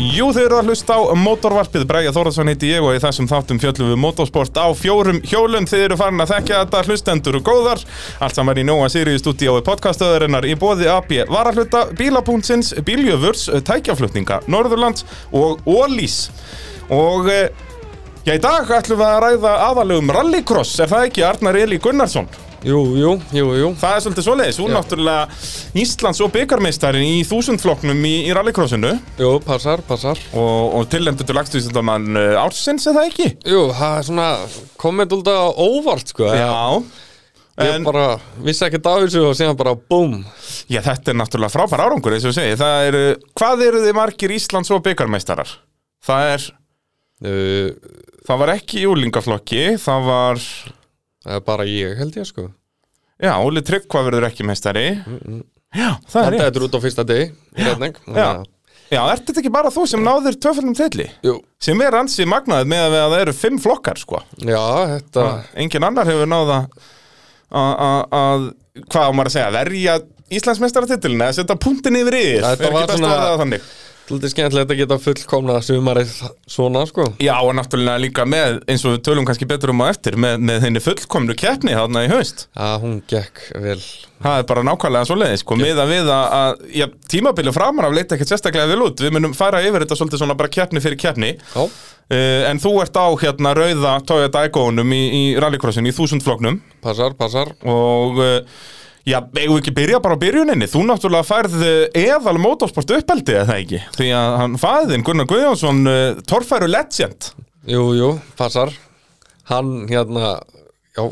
Jú, þau eru að hlusta á mótorvarpið Bræja Þórðarsson heiti ég og í þessum þáttum fjöllum við motorsport á fjórum hjólum Þið eru farin að þekkja þetta hlustendur og góðar Allt saman í Nóa Sirius stúdíói podcastöðurinnar í bóði AB Varahluta, Bílapúntsins, Bíljöfurs, Tækjaflutninga, Norðurlands og Ólís Og eh, já, í dag ætlum við að ræða aðalegum rallycross, er það ekki Arnar Eli Gunnarsson? Jú, jú, jú, jú Það er svolítið svoleiðis, hún Já. náttúrulega Íslands og byggarmeistarinn í þúsundflokknum í, í rallycrossinu Jú, passar, passar og, og tilnæmdu til lagstvísindamann ársins eða ekki? Jú, það er svona komið alltaf óvart, sko Já. Ég En, bara vissi ekki af þessu og síðan bara búm já, þetta er náttúrulega frábær árangur eins og ég segi, það eru, hvað eru þið margir Íslands og byggarmeistarar? Það er, Uh, það var ekki í úlingaflokki, það var, Það er bara ég, held ég, sko já, Óli Tryggva verður ekki meistari Já, það er Þetta rétt er út á fyrsta degi, reyning Já, já er þetta ekki bara þú sem náðir tvöföldum tilli? Jú, Sem er ansið magnaðið með að það eru fimm flokkar, sko já, þetta Engin annar hefur náð að- að að- að- hvað á maður að segja, verja Íslandsmeistaratitilina, að setja punktin yfir yfir Þetta er var ekki best svona- að orða það þannig Lítið skemmtilegt að geta fullkomna sumarið svona, sko Já, og náttúrulega líka með, eins og við tölum kannski betur um á eftir, með, með henni fullkomnu keppni þarna í haust. Já, hún gekk vel Það er bara nákvæmlega svoleiðis, sko, miða við að, að já, tímabilið framan af leita ekkert sérstaklega vel út. Við munum fara yfir þetta svolítið svona bara keppni fyrir keppni. Já, Uh, en þú ert á hérna rauða Toyota Iconum í, í rallycrossinu, í þúsundfloknum. passar, passar og uh, já, eigum við ekki byrja bara á byrjuninni þú náttúrulega færð uh, eðal motorsport uppeldi eða ekki, því að hann faðinn Gunnar Guðjónsson, uh, torfæru legend Jú, jú, passar Hann, hérna, já,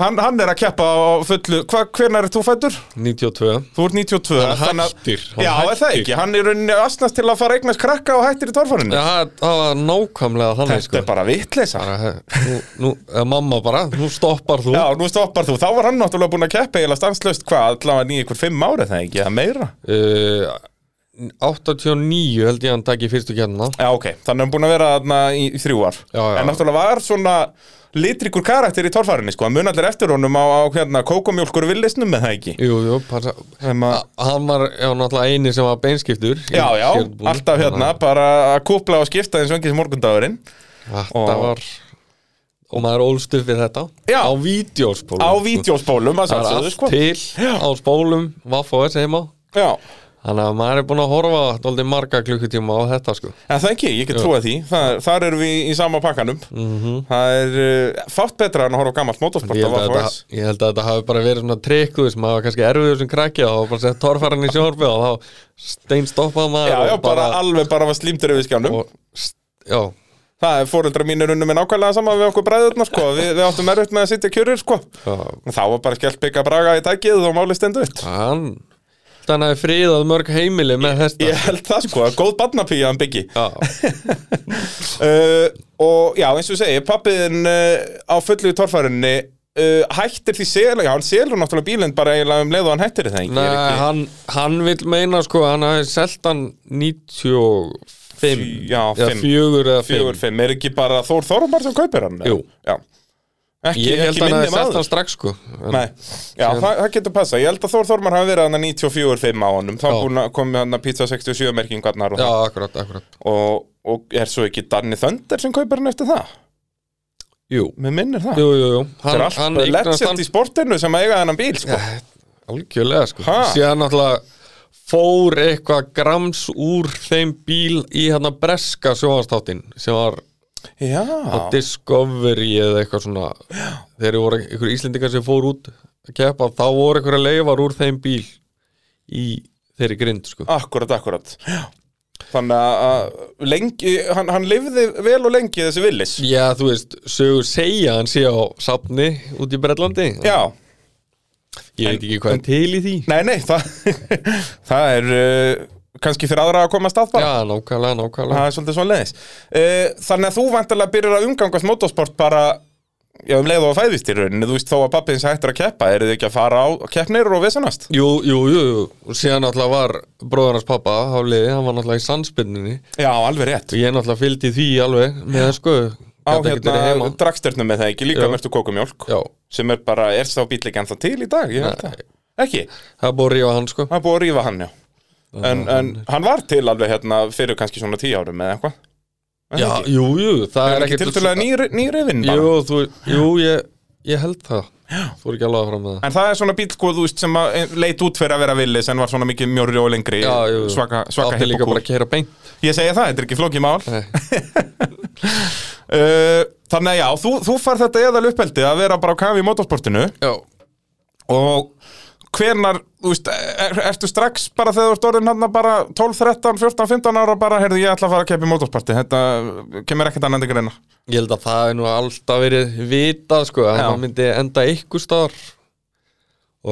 hann, hann er að keppa á fullu hva, hvernig er þú fættur? 92 Þú ert 92 Hann þannig að- hættir, hann Já, er það hættir. ekki, hann er rauninni asnast til að fara að eignast krakka og hættir í torfærunni Já, það það var nákvæmlega þannig, Þetta sko er bara vitleysa bara, he- nú, nú, eða mamma bara, nú stoppar þú Já, nú stoppar þú, þá var hann náttúrulega búin að keppa eiginlega stanslöst hvað, allavega í ykkur fimm ári það ekki, eða meira uh, 89 held ég að hann takk í fyrstu kjærna Já, ok, þannig að hann búin að vera þarna í, í þrjú ár Já, já. En náttúrulega var svona litrikur karakter í torfærinni, sko Hann mun allir eftir honum á, á hérna, kókomjólkur villisnum með það ekki Jú, jú, passa Sem að- Hann var, já, náttúrulega eini sem var beinskiptur í Já, já, skerbúning. alltaf hérna, Þannig bara að kúpla og skipta eins og engin sem morgundagurinn að Þetta og- var Og maður ólst upp við þetta Já. Á vídeospólum Á vídeospólum, að Það er allt sjálfsögðu, sko til á spólum Vaff og þessi heima Já, Þannig að maður er búin að horfa Dóldi marga klukkutíma á þetta, sko en það ekki, ég get trúið því Þar, þar erum við í sama pakkanum -hmm. Það er uh, fátt betra en að horfa á gamalt motorsport Mhm. Ég á held, að VHS. þetta, ég held að þetta hafi bara verið svona trikkuð sem hafa kannski erfiður sem krakki og þá var bara sett torfaran í sjónarfi og þá steinstoppað maður Já, já, og bara alveg bara var slímtur yfir skjánum og, st- Já, Það er fóreldra mínir unnum með nákvæmlega saman við okkur bræðurna sko. við, við áttum erfitt með að sitja kjörur sko. já og þá var bara skellt byggja braga í tækið og máli stendu upp Hann Þannig hafi friðað mörg heimili með þetta Ég held það sko, góð barnapíja hann byggi Já, uh, Og já, eins og ég segi, pappiðin uh, á fullu í torfærinni uh, hættir því selur, já hann selur náttúrulega bílinn bara eiginlega um leið og hann hættir það ekki, Nei, er ekki hann, hann vil meina sko hann hafi selt hann 95 Fí- já, eða fimm. fjögur eða Fjögur, fimm fimm, er ekki bara Þór Þorumar sem kaupir hann? eða? Jú. Já Ekki, Ég held ekki hann minni hafi selt maður hann strax sko En- Nei, já, það, það getur passa Ég held að Þór Þormar hafi verið hann að 94-5 á honum Þá Já. búin að komi hann að pizza 67 merkingarnar og, Já, það. akkurat, akkurat og, og er svo ekki Danni Þönder sem kaupir hann eftir það Jú, Mér minnir það jú, jú, jú. Það Hann, er hann alltaf eignast hann legend í sportinu sem að eiga þennan bíl sko. Algjörlega sko Ha? Síðan náttúrulega fór eitthvað grams úr þeim bíl í hérna breska sjónvastáttinn sem var Já, Discovery eða eitthvað svona þegar voru einhver íslendingar sem fór út að keppa þá voru einhverja leifar úr þeim bíl í þeirri grind sko akkurat, akkurat Já. Þannig að- að lengi, hann, hann lifði vel og lengi þessi villis Já þú veist, sögur segja hann sé á safni út í Bretlandi Já, Ég veit ekki hvað er til í því nei, nei, það, það er uh, kannski fyrir aðra að koma að stað bara Já, nákvæmlega, nákvæmlega Það er svolítið svona leiðis Þannig að þú vantarlega byrjar að umgangast motorsport bara Já, um leið og að fæðist í rauninni, þú veist þó að pappi eins hættir að keppa, eru þið ekki að fara á keppnir og vesanast? Jú, jú, jú, jú, og síðan náttúrulega var bróður hans pappa, Hafliði, hann var náttúrulega í sandspinninni Já, alveg rétt. Og ég náttúrulega fylgdi því alveg með það sko Á Gat ekkert verið hérna heima dragstörnum með það ekki, líka Jú. mertu kókumjólk, Já, sem er bara, er sá bíl ekki ennþá til í dag, ég veit það. Ekki, það bóri ég á hann sko það er búið að rífa hann, já. en, en hann var til alveg hérna fyrir kannski svona tíu árum eða eitthvað Er það já, ekki? jú, jú, það Er er hann ekki ekkert tiltölulega nýri, nýriðin bara Jú, þú, jú ég, ég held það Þú er ekki alveg að fram með það En það er svona bíl, sko, þú veist, sem að eh, leit út fyrir að vera villis en var svona mikið mjórri og lengri Já, jú, jú. svaka, svaka Átti líka hippokúl. bara að keira beint Ég segja það, þetta er ekki flókið mál Nei. Uh, Þannig að já, þú, þú far þetta eðal uppeldi að vera bara á kafi í motorsportinu Já, og hvernar, þú veist, er, ertu strax bara þegar þú ert orðin hann bara 12, 13, 14, 15 ára bara, heyrðu, ég ætla að fara að keppa í motorsporti, þetta kemur ekkert annað ykkur einna. ég held að það er nú alltaf verið vitað sko að Já. maður myndi enda einhver staðar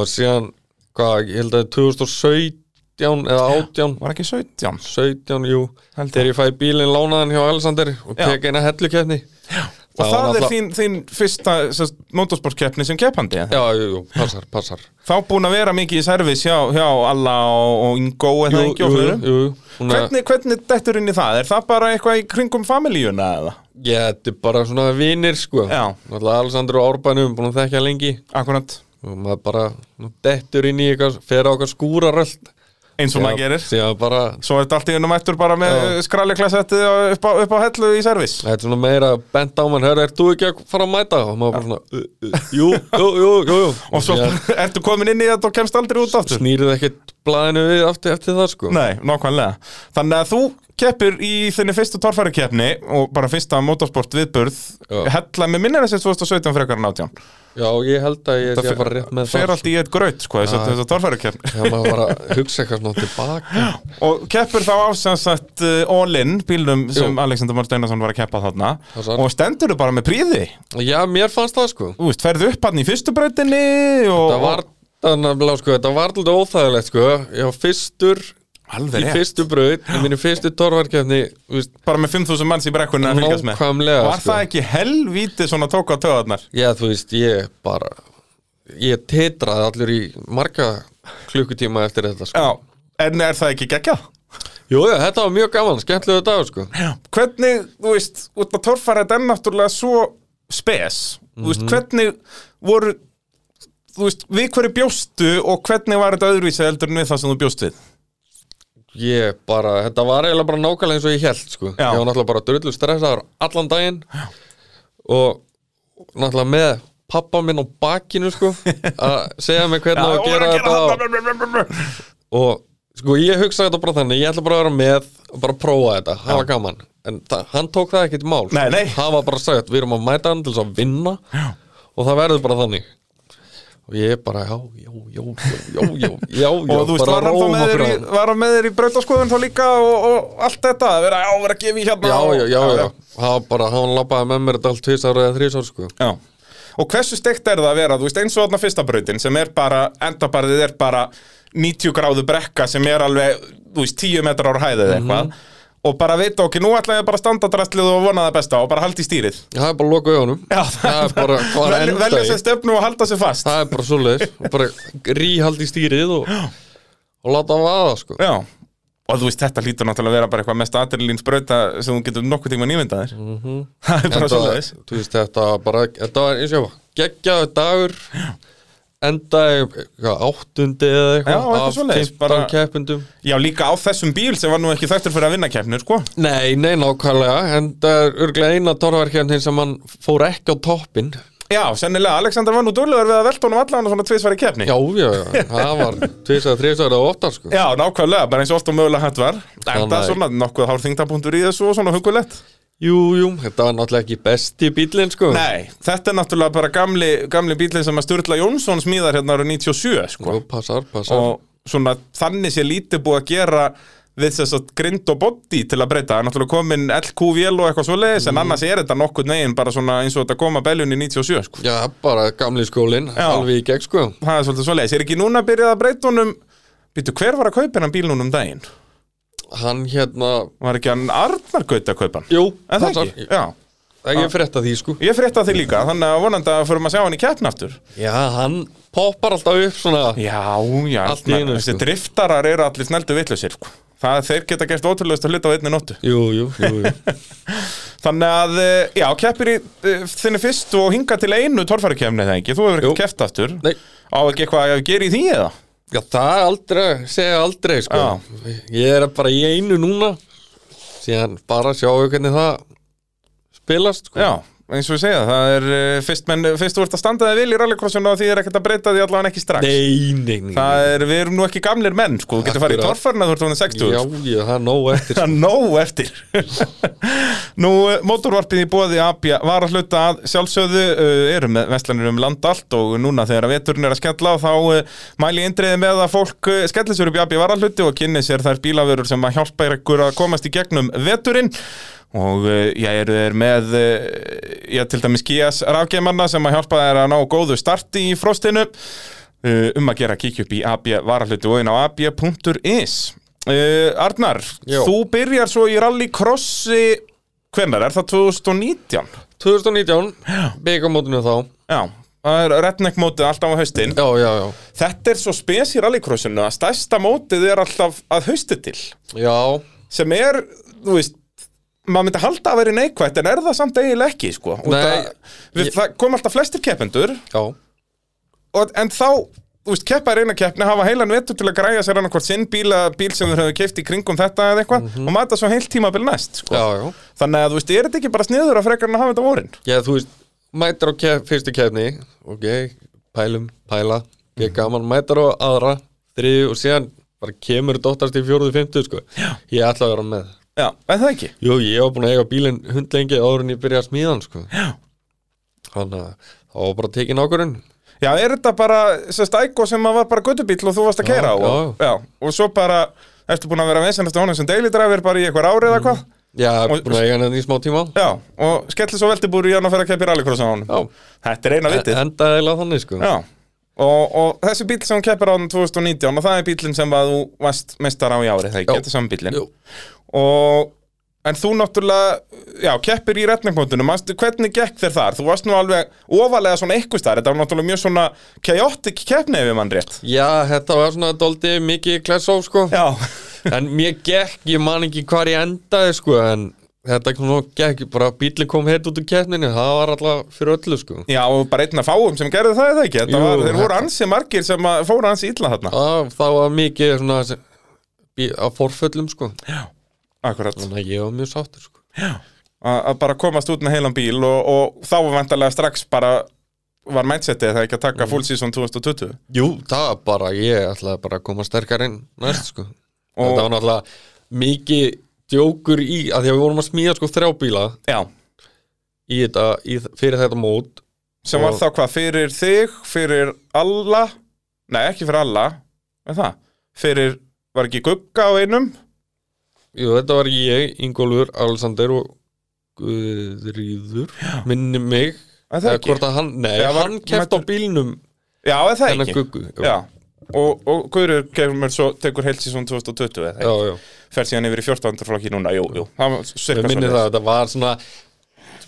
og síðan, hvað, ég held að 2017 eða 18 Var ekki 17? 17, jú, Held þegar ég fæ bílinn lánaðan hjá Alexander og Já. tek eina hellukeppni Og það, var er náttúrulega- þín, þín fyrsta sest, motorsportkeppni sem keppandi, eða? Já, jú, jú, passar, passar Þá búin að vera mikið í servis hjá, hjá Alla og, og Ingo eða Jú, ekki og jú, fleirum. jú, jú. Hún er- Hvernig, hvernig dettur inn í það? Er það bara eitthvað í kringum familíuna eða? Ég, þetta er bara svona vinir sko Já. Náttúrulega Alexander og Árbænum búin að þekkja lengi Akkurat, og maður bara nú, dettur inn í eitthvað, fer á eitthvað skúraröld eins og maður gerir Síðan bara, Svo er þetta allt í unum mættur bara með Já. skralleklasettið og upp, á- upp á hellu í servis þetta er svona meira bent á mann, hörðu, ert þú ekki að fara að mæta? Og maður bara svona, "Uh, uh, jú, jú, jú, jú, jú. Og svo Síðan ertu komin inn í þetta og kemst aldrei út aftur snýrið ekkert blaðinu við aftur eftir það sko Nei, nákvæmlega Þannig að þú keppir í þinni fyrstu torfærikeppni og bara fyrsta motorsport viðburð Já. hella með minnir þessi 2017 frekar en 18 Já, ég held að ég Það sé fer- bara rétt með fer það allt í eitt graut sko, þess að torfærikeppni Þegar maður bara hugsa eitthvað svona tilbaka Og keppur þá á sem sagt uh, All-in bílnum sem Jú. Alexander Már Steinarsson var að keppa þarna Það svar. og stendur þú bara með príði Já, mér fannst það sko Þú veist, ferðu upp hann í fyrstu breytinni og Það var, þannig að sko, þetta var alltaf óþægilegt sko Ég var fyrstur alveg í rétt fyrstu braut, í minni fyrstu torvarkefni veist, bara með 5.000 manns í brekkunni að fylgjast með nákvæmlega sko. Var það ekki helvíti svona tók á töðarnar? Já, þú veist, ég bara ég titraði allur í marga klukkutíma eftir þetta sko. Já, en er það ekki geggjað? Jú, já, þetta var mjög gaman, skemmtilegu dag sko. Hvernig, þú veist, út að torfara þetta er náttúrulega svo spes Þú Mhm. veist, hvernig voru þú veist, við hverju bjóstu og hvernig var þetta öðruvísi heldur en við það sem þú bjóst við? Ég bara, þetta var eiginlega bara nákvæmlega eins og ég held sko. Já. Ég var náttúrulega bara drullu stressaður allan daginn já. og náttúrulega með pappa minn á bakinu sko, að segja mig hvernig á að og er gera þetta og- þetta á- og sko ég hugsaði þetta bara þannig ég ætla bara að vera með og bara prófa þetta hafa gaman, en það, hann tók það ekkert í mál Nei, nei. hann var bara sagt, við erum að mæta hann til þess að vinna já. og það verður bara þannig og ég bara, já, já, já, já, já, já, já Og þú veist, bara var hann, þá róa með fyrir þér í, hann. var hann með þér í brautaskoðun þá líka og, og allt þetta að vera, já, vera að gefa í hérna já, já, já, og- já, það var bara, hann labbaði með mér þetta allt tvisar eða þrísar, sko Já. Og hversu steikt er það að vera, þú veist, eins og þarna fyrsta brautin sem er bara, endabarðið er bara 90 gráðu brekka sem er alveg, þú veist, 10 metrar ára hæðið eða Mhm. eitthvað og bara veit okkur, nú ætla ég bara að standa drastlið og vona það besta og bara halda í stýrið það er bara að loka augunum Já, það er bara, hvað Vel, enda velja í sér stefnu og halda sér fast það er bara svoleiðis, bara ríhald í stýrið og, og láta hann vaða, sko Já, og þú veist, þetta lítur náttúrulega að vera bara eitthvað mest adrenalín sprauta sem þú getur nokkuð tíma nýmyndaðir mm -hmm. Það er bara Þetta- svo þú veist, þetta var bara, þetta var eins og ég var geggjaðu dagur enda áttundi eða Já, eitthvað eitthvað svoleiðis, bara- keppendum Já, líka á þessum bíl sem var nú ekki þættur fyrir að vinna keppnir, sko Nei, nei, nákvæmlega en það er örglega eina torverkjarnin sem hann fór ekki á toppin Já, sennilega, Alexander var nú dúrlegar við að velta honum allan og svona tvisvar í keppni Já, já, já, það var tvisað, þrisað og oftar sko Já, nákvæmlega, bara eins og oft og mögulega hætt var En það Þannig er að- svona nokkuð hár þingdapunktur í þessu og svona hugulegt Jú, jú, þetta var náttúrulega ekki besti bílinn sko Nei, þetta er náttúrulega bara gamli, gamli bílinn sem að Sturla Jónsson smíðar hérna ára 97 sko. Jú, Passar, passar og svona þannig sé lítið búið að gera við þess að grind og body til að breyta það er náttúrulega komin LQVL og eitthvað svoleiðis en annars er þetta nokkuð negin bara svona eins og þetta koma beljun í 97 sko. Já, bara gamli skólinn, Já. alveg í gegn sko það er svolítið svoleiðis, er ekki núna byrjað að breyta honum Býtu, hver var að kaupa hennan bíl núna um daginn? Hann hérna, Var ekki hann Arnar Gaut að kaupa hann? jú, En það ekki? Já Ég frétta því sko Ég frétta því líka, þannig að vonandi að fyrir að sjá hann í keppn aftur Já, hann poppar alltaf upp svona Já, já, Allt í einu, þessi sko. driftarar eru allir snældu vitlausir sko. Það þeir geta gert ótrúlegust að hluta á einni nóttu Jú, jú, jú, jú. Þannig að, eh, já, keppir í eh, þinni fyrst og hinga til einu torfærukefni það ekki Þú hefur Jú. ekki keppt aftur Nei, Á ekki eitthvað að gera í því eða? Já, það er aldrei, segja aldrei sko. Ég er bara í einu núna síðan bara sjáu hvernig það spilast sko. Já, eins og við segja, það er eh, fyrst, menn, fyrst þú ert að standa þig vel í rallycrossinu og því er ekkert að breyta því allavega ekki strax Nei, nei, nei Það er, við erum nú ekki gamlir menn, sko, þú getur farið í Akkurat. torfarna þú ert orðin 60 Já, ég, það er nóg eftir Það er nóg eftir Nú, eh, mótorvarpið í bóði Abja var að hluta að sjálfsögðu uh, eru með vestlanir um land allt og núna þegar að veturinn er að skella á þá uh, mæli ég indriði með að fólk uh, skellir sér upp í Abja varahluti og kynni sér þær bílavörur sem að hjálpa ykkur að komast í gegnum veturinn og uh, ég eru þeir með uh, ég til dæmis Kías rafgeimanna sem að hjálpa þeir að ná góðu starti í frostinu uh, um að gera kíkja upp í AB varahluti og inn á ab.is uh, Arnar, Jó. þú byrjar svo í rallycrossi hvenær, er það 2019? 2019, byggamótinu þá Já, það er redneck mótið alltaf á haustin Já, já, já Þetta er svo spes í rallycrossinu að stærsta mótið er alltaf að hausti til Já, sem er, þú veist maður myndi halda að vera neikvætt en er það samt eiginlega ekki sko. Út Nei, að, við, það kom alltaf flestir keppendur já, og, en þá, þú veist, keppar eina keppni hafa heilan vetur til að græja sér annarkvort sinn bíla, bíl sem þeir höfðu keift í kringum þetta eða eitthvað og mata svo heilt tímabil næst sko. já, já þannig að þú veist, er þetta ekki bara sniður að frekar en að hafa þetta á vorin Já, þú veist, mætir á kef, fyrstu kefni Ok, pælum, pæla Ég gaman, mætir á aðra Þriði og síðan bara kemur dóttast í fjóruðu fymtu sko. Ég ætla að vera með Já, en það ekki Jú, ég var búin að eiga bílinn hundlengi áður en ég byrjaði að smíða hann, sko. Já. Þannig að það var bara tekin ákvörðun. Já, er þetta bara, sérst, ægó sem að var bara göttubíl og þú varst að keira á og, já, og svo bara, ertu búin að vera vesennast á honum sem deilidræfir bara í eitthvað árið eða hvað Já, Og- búin að eiga hann hérna í smá tíma. Já, og skellir svo veltibúri í hann að fyrir að keppi rallycross á hann Já. Þetta er eina vitið Enda eða þannig, sko. Já, og, og þessi bíl sem hún keppir á hann 2019 og það er bílinn sem að þú varst mestar á í ári, það er ekki Já. þetta er sami bílinn Jú. og En þú náttúrulega, já, keppir í retningmótinu, manstu, hvernig gekk þér þar? Þú varst nú alveg ofalega svona eitthvað þar, þetta var náttúrulega mjög svona chaotic keppni ef ég mann rétt. Já, þetta var svona doldi mikið klessóf, sko. Já, En mér gekk, ég man ekki hvar ég endaði, sko, en þetta kom nú gekk, bara bíli kom heitt út úr keppninu, það var alltaf fyrir öllu, sko. já, og bara einn af fáum sem gerði það eða ekki, þetta Jú, var, þeir þetta- voru ansi margir sem að- fóru ansi illa þarna. Það, það var mikið svona sem- bí- á forföllum, sko. Akkurat. Þannig að ég var mjög sáttur, sko. að að bara komast út með heilan bíl og, og þá var vantarlega strax bara var mindsetið það ekki að Mhm. taka full season 2020 Jú, það var bara, ég ætlaði bara að koma sterkar inn næst, sko. Þetta var náttúrulega mikið djókur í, að því að við vorum að smíða sko þrjá bíla Já, í þetta, í, fyrir þetta mót. sem var Og- þá hvað fyrir þig, fyrir alla nei ekki fyrir alla en það, fyrir var ekki gugga á einum Jú, þetta var ég, Ingólfur, Alexander og Guðríður, minni mig. Er það Eða ekki? hvort að hann, nei, Eða var- hann keft á bílnum Já, eða það hennar ekki guggu. Já, og, og Guður kemur svo tekur heilt season 2020 eða já, það já. fer síðan yfir í 14. flokki núna, jú, jú það var Ég cirka minni svoleiðis. það, þetta var svona,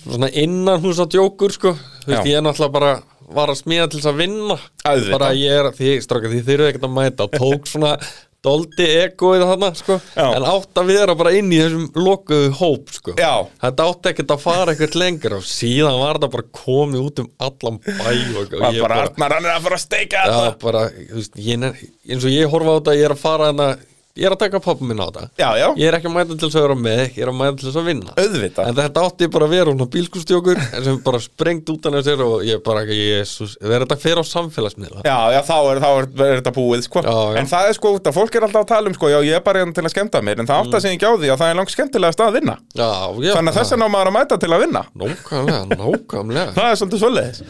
svona innan hún svo djókur, sko. Þú veist, Já. ég er náttúrulega bara var að smíða til þess að vinna. Auðvitað. bara ég er, því, stráka, því þeir eru ekkert að mæta tók svona doldi egoið þarna, sko, Já. en átt að vera bara inn í þessum lokuðu hóp, sko Já. þetta átt ekkert að fara ekkert lengur og síðan var þetta bara komið út um allan bæ og, og Var ég bara bara, Arnar, hann er að fara að steika já, þetta bara þú veist, ég, nenn- eins og ég horfa á þetta, ég er að fara hana, ég er að taka pappa minn á þetta Já, já, ég er ekki að mæta til þess að vera með, ég er að mæta til þess að vinna auðvitað En þetta átti bara að vera hún á bílskustjókur sem bara sprengt út hann af sér og ég bara, jésus, verður þetta fyrir á samfélagsmiðla? Já, já, þá er, þá er, er þetta búið, sko Já, já. En það er sko út að fólk er alltaf að tala um, sko Já, ég er bara hérna til að skemmta mér En það átt að segja ekki á því að það er langt skemmtilega stað að vinna Já, Mm. já. Þannig að þess vegna á maður að mæta til að vinna Nákvæmlega, nákvæmlega Það er svolítið svoleiðis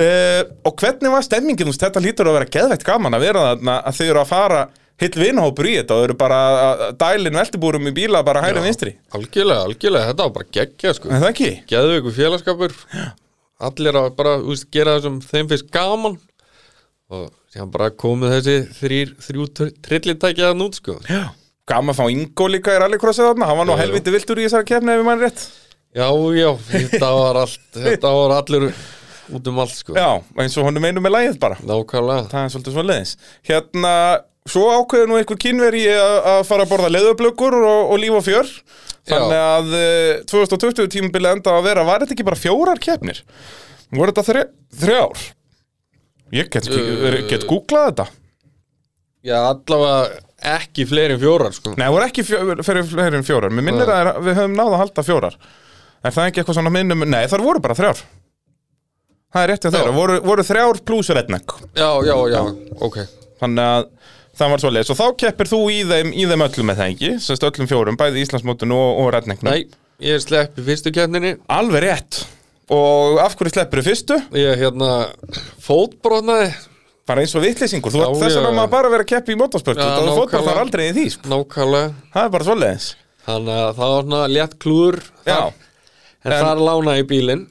uh, Og hvernig var stemmingin, þú veist, þetta lítur að vera geðvægt gaman að vera þarna Að þið eru að fara hill vinahópur í þetta Og eru bara að- að dælin veltibúrum í bíla bara hægri vinstri Algjörlega, algjörlega, þetta var bara geggja sko En það ekki? Geðu ykkur félagskapur Allir að bara úst, gera þessum þeim fyrst gaman Og síðan bara komið þessi þrýr, þrjú trillitækja þann út sko Já Gaman að fá Ingo líka í rallycrossið þarna Hann var nú Já, já. helviti viltur í þessari kefni ef ég mann rétt Já, já, þetta var allt Þetta var allir út um allt sko Já, eins og honum einu með lægið bara Nákvæmlega það er svolítið svona leðins hérna, svo ákveður nú einhver kínveri að að fara að borða leðublöggur og, og líf og fjör þannig að eh, 2020 tímabilið enda að vera var þetta ekki bara fjórar keppnir voru þetta þre, þrjár ég get, uh, get googlað þetta já, allavega ekki fleiri en fjórar sko. Nei, það voru ekki fjó- fyrir fleiri en fjórar Mér minnir Nei. að við höfum náða að halda fjórar Er það ekki eitthvað svona minnum Nei, þar voru bara þrjár Það er rétt hjá þeirra, voru, voru þrjár pluss redneck Já, já, já, ok Þannig að það var svo leiðis Og þá keppir þú í þeim, í þeim öllum með það ekki Sest öllum fjórum, bæði Íslandsmótinu og, og rednecknum Nei, ég sleppi fyrstu kefninni Alveg rétt Og af hverju sleppur þú fyrstu? Ég hérna fótbrotnaði Bara eins og vitlýsingur, þú Já, ert þess já. að maður bara að vera að keppa í motorsport Já, ja, og fótball nákvæmlega. þarf aldrei í því, sko. Nákvæmlega það er bara svoleiðis Þannig að það var svona létt klúður Já, þar, En en- þar lánaði ég bílinn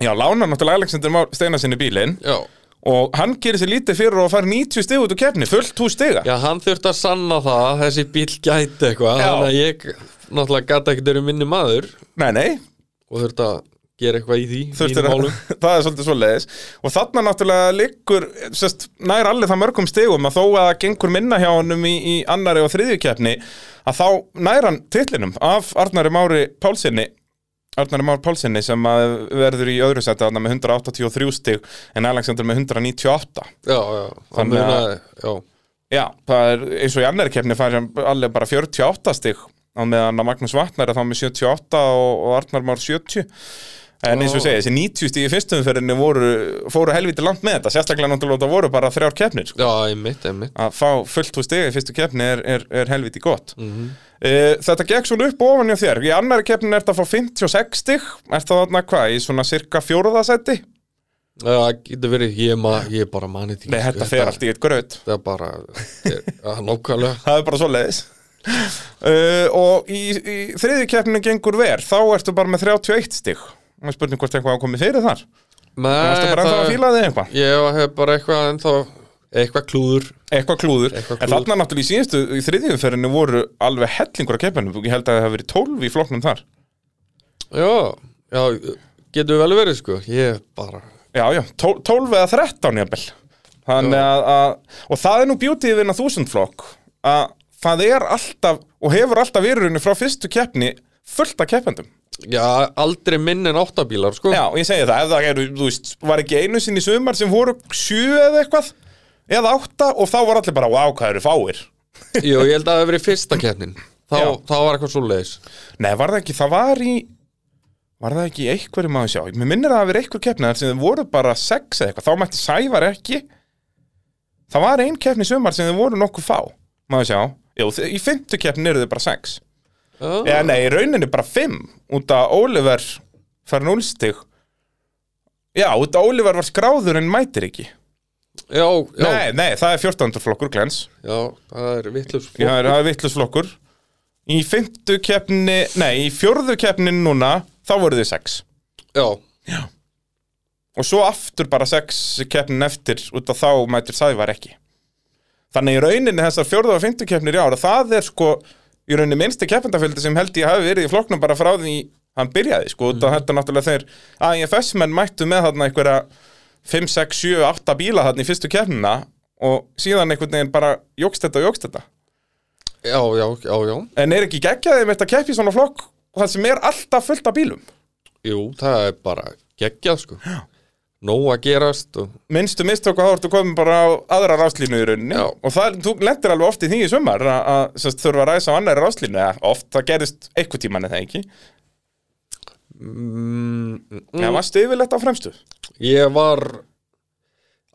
já lána náttúrulega Alexander Már Steinar sinni bílinn Já og hann gerir sér lítið fyrir og fær 90 stig út úr keppni, fullt hús stiga Já, hann þurfti að sanna það að Þessi bíl gæti eitthvað Já. Þannig að ég náttúrulega gæti ekkert verið minni maður Nei, nei, Og þurfti að gera eitthvað í því þurftir mínum að, málum. það er svolítið svoleiðis og þarna náttúrulega liggur sest, nær allir það mörgum stigum að þó að það gengur minna hjá honum í, í annari og þriðju keppni að þá nær hann titlinum af Arnari Mári Pálsini Arnari Már Pálsini sem að verður í öðru seti þarna með 183 stig en Alexander með 198 Já, já Hann Þannig að- munaði Já, Já, það er eins og í annari keppni fær hann allir bara 48 stig á meðan að Magnús Vatnar er þá með 78 og, og Arnar Már 70 en eins og ég segi, þessi 90 stig í fyrstum fyrirni voru, fóru helviti langt með þetta sérstaklega náttúrulega það voru bara þrjár keppnir sko. já, einmitt, einmitt að fá fullt úr stig í fyrstu keppni er, er, er helviti gott Eh, Þetta gekk svona upp og ofan hjá þér í annari keppni er þetta að fá 56 stig er það þarna hvað, í svona cirka fjórðasætti? Já, það getur verið Ég, ma, ég bara mani því Nei, þetta fer allt í eitt gröð Þetta er bara ég, að, Nákvæmlega það er bara svoleiðis uh, og í, í þriðju keppninu gengur ver, þá ertu bara með 31 stig og spurning hvort eitthvað hafi komið fyrir þar Nei, Það ertu bara ennþá að fíla þig eitthvað Ég hef bara eitthvað ennþá Eitthvað klúður Eitthvað klúður, Eitthvað en klúður. þarna náttúrulega í síðustu í þriðjumferðinu voru alveg hellingur að keppinu ég held að það hafi verið 12 í flokknum þar Já, já getur vel verið sko Ég bara Já, já, tól- 12 eða 13 jafnvel Þannig að, að, og það er nú bjútið við hennar þúsundflokk að það er alltaf og hefur alltaf verið í rauninni frá fyrstu keppni fullt af keppendum Já, aldrei minn en áttabílar sko Já, ég segi það, ef það eru, þú veist, var ekki einu sinni í sumar sem voru sjö eða eitthvað eða átta og þá var allir bara, wow, hvað eru fáir Jú, ég held að það hef verið fyrsta keppnin Þá, Já. þá var eitthvað svo leiðis Nei, var það ekki, það var í var það ekki í einhverjum að sjá mér minnir að það hafi verið einhver keppni þar sem þið voru bara sex eða eitthvað, þá mætti Sævar ekki það var ein keppni í sumar sem þið voru nokkuð fá, maður sjá Jú, þi- í fymtu keppni eru þið bara sex Já, eða nei, í rauninni bara fimm út að Oliver fær núlstig já, út að Oliver var skráður en mætir ekki já, já, Nei, nei, það er 14. flokkur, glens já það er vittlust Það er, það er vittlust flokkur Í fymtu keppni, nei, í fjórðu keppni núna Þá voru þið sex Já, Og svo aftur bara sex keppnin eftir Út af þá mætir Sævar ekki Þannig í rauninni þessar fjórðu og fymtu keppnir í ára Það er sko í rauninni minnsti keppendafjöldi Sem held ég hafi verið í flokknum bara frá því Hann byrjaði sko, út af þetta náttúrulega þeir AIFS menn mættu með þarna einhverja 5, 6, 7, 8 bíla þarna í fyrstu keppnina Og síðan einhvern veginn bara jógst þetta og jógst þetta já, já, já, já En er ekki geggjaði með þetta keppi í svona flokk Það sem er alltaf fullt af bílum Jú, það er bara geggjað sko já. Nóg að gerast og... Minnstu mistök og þá ertu komin bara á aðra ráslínu í rauninni Já. Og það, þú lendir alveg oft í því í sumar að- að sem sagt, þurfa að ræsa á annari ráslínu eða Oft, það gerist eitthvað tíman eða ekki mm. mm, mm, mm. Já, varstu yfirleitt á fremstu Ég var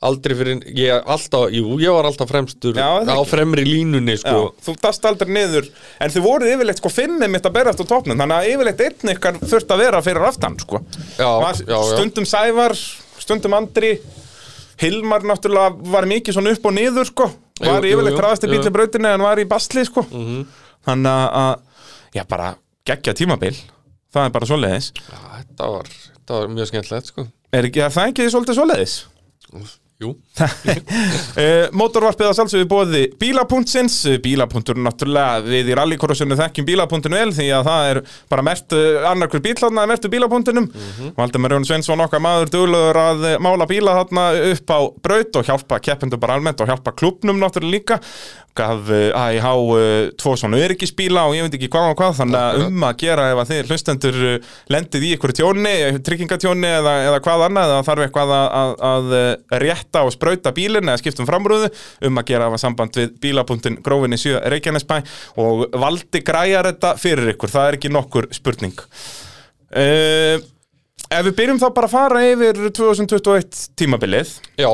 aldrei fyrir ég, alltaf, Jú, ég var alltaf fremstur Já, það Á ekki. fremri línunni Já, sko þú dast aldrei niður En þið voruð yfirleitt sko fimmið mitt að berast á topnum Þannig að yfirleitt einn ykkar þurft að vera fyrir aftan sko Já, var, já, já, Stundum Sævar, stundum Andri Hilmar náttúrulega var mikið svona upp og niður sko Var Jú, jú, yfirleitt jú, Mhm. ræðasti bíl í jú. brautinni en var í basli sko Þannig að- að, já bara geggja tímabil Það er bara svoleiðis já þetta, var, þetta var mjög skemmtilegt sko Er, ekki- er það ekki svolítið svoleiðis? Jú uh, Mótorvarpið að sjálfsögðu bóði bílapunktsins Eh, Bílapunktur náttúrulega við í rallykorrosinu þekkjum bílapunktinu vel því að það er bara mert uh, annarkur bíl þarna er mertu bílapunktinum Valdemar Jón Sveinsson okkar maður duglöður að eh, mála bíla þarna upp á braut og hjálpa keppendum bara almennt og hjálpa klubnum náttúrulega líka gaf eh, AIH eh, tvo svona öryggisbíla og ég veit ekki hvað og hvað þannig að Akkurat. um að gera ef að þið hlustendur eh, lendið í ykkur tjóni, eh, tryggingatjóni eða, eða hvað annað eða þarf eitthvað að, að, að eh, rétta létta og sprauta bílinn eða skiptum framrúðu um að gera af að samband við bílapunktin grófinni 7 Reykjanesbæ og valdi græjar þetta fyrir ykkur, það er ekki nokkur spurning uh, Ef við byrjum þá bara að fara yfir 2021 tímabilið Já,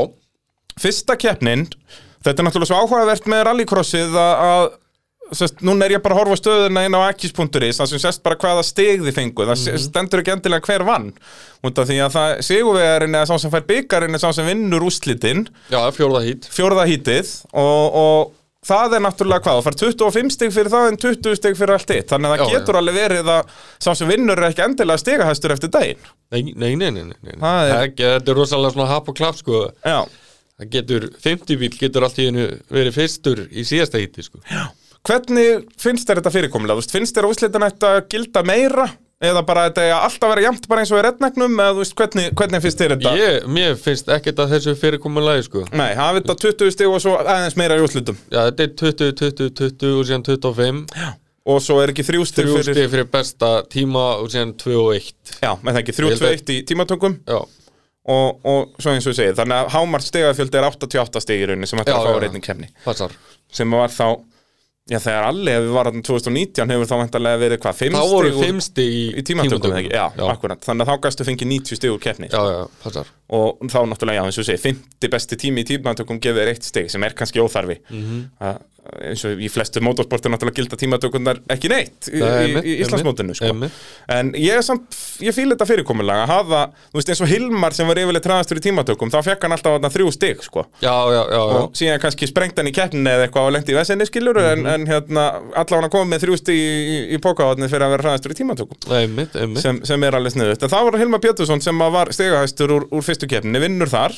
Fyrsta keppnin, þetta er náttúrulega svo áhugavert með rallycrossið að, að sest, núna er ég bara að horfa á stöðuna inn á akis.is, það sem sést bara hvaða stig þið fengu, það Mhm. stendur ekki endilega hver vann, út af því að það sigurvegarinn eða sá sem fær byggarinn eða sá sem vinnur úslitinn, já, fjórða hít fjórða hítið og, og það er náttúrulega hvað, þú fær 25 stig fyrir það en 20 stig fyrir allt þitt, þannig að það Já, getur alveg verið að sá sem vinnur er ekki endilega stigahæstur eftir daginn. Nei, nei, nei, nei, nei, nei. Það er- Það er... ekki- Þetta er rosalega svona hap og klapp sko Já. Það getur, 50 bíl getur allt í hennu verið fyrstur í síðasta híti sko Hvernig finnst þér þetta fyrirkomulega? Þú veist, finnst þér að úslitin ætti að gilda meira? Eða bara þetta er alltaf vera jæmt bara eins og í rednegnum? Eða þú veist, hvernig, hvernig finnst þér þetta? Ég, mér finnst ekkert að þessu fyrirkomulagi sko Nei, hafa þetta 20 stig og svo aðeins meira í úslitum. Já, þetta er 20, 20, 20 og síðan 25 Og svo er ekki þrjú stig Þrjú fyrir... stig fyrir besta tíma og síðan 2 og 1 Já, með það ekki, þrjú, Ég held tvö, að- eitt í tímatöngum Já, og, og svo eins og ég segir. Þannig að hámar stigafjöldi er 88 stig í rauninni sem ætti Já, að fá á já, já. reyning kemni. passar Sem var þá, já þegar allir hefur var þarna 2019 hefur þá vantarlega verið hvað, 5 Þá stig voru úr- 5 stig í, í tímatöngum, eða ekki? Já, já, akkurat. Þannig að þá gæstu fengið 90 stig úr kemni. já, já, passar og þá náttúrulega, já, eins og segi, 50 besti tími í tímatökum gefur eitt stig sem er kannski óþarfi Mhm. Að- eins og í flestu mótorsporti náttúrulega gilda tímatökunar ekki neitt í, í, Nei, einmitt, í Íslandsmótinu sko. einmitt. en ég er samt, ég fíla þetta fyrirkomulega að hafa, þú veist, eins og Hilmar sem var yfirleitt traðastur í tímatökum, þá fekk hann alltaf þarna þrjú stig, sko Já, já, já, já, og síðan kannski sprengt hann í keppninni eða eitthvað á lengt í vesenni skilur en, Mhm. en hérna, allavega hann komið með þrjú stig í, í, í pokahotni fyrir að vera traðastur í tímatökum einmitt, einmitt sem, sem er alveg sniðut en það var Hilmar Pétursson sem að var stigahæstur úr, úr fyrstu keppninni, vinnur þar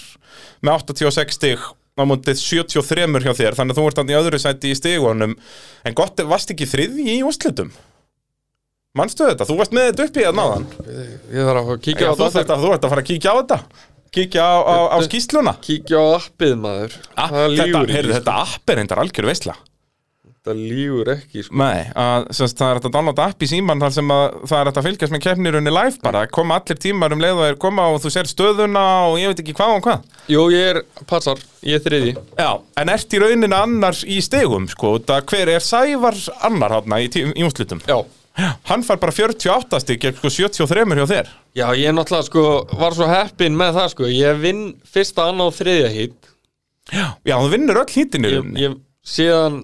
með 86 stig á mútið 73 hjá þér, þannig að þú ert hann í öðru sæti í stigunum, en gott ef varst ekki þriðji í úrslitum manstu þetta, þú varst með þetta upp í að náðan Ég þarf að fá að Já, kíkja á þú þetta ert að, þú ert að fara að kíkja á þetta kíkja á, á, á skýsluna Kíkja á appið maður Ah, Það þetta, lígur heyrðu, ekki þetta app er reyndar algjör veistla Þetta lígur ekki sko Nei, að, semst, það er hægt að downloada app í síman þar sem að, það er hægt að fylgjast með keppnirunni live bara, koma allir tímar um leið og þeir koma og þú sér stöðuna og ég veit ekki hvað og hvað Jú, ég er, passar, ég er þriði Já, en ert í rauninni annars í stegum sko, það hver er Sævar annar hátna í, tím- í úrslutum Já Hann fær bara 48 stík, sko 73 hjá þér Já, ég er náttúrulega sko, var svo heppinn með það sko Ég vinn fyrsta, annað og þriðja hít Já, þú vinnur öll hítinu Ég, ég síðan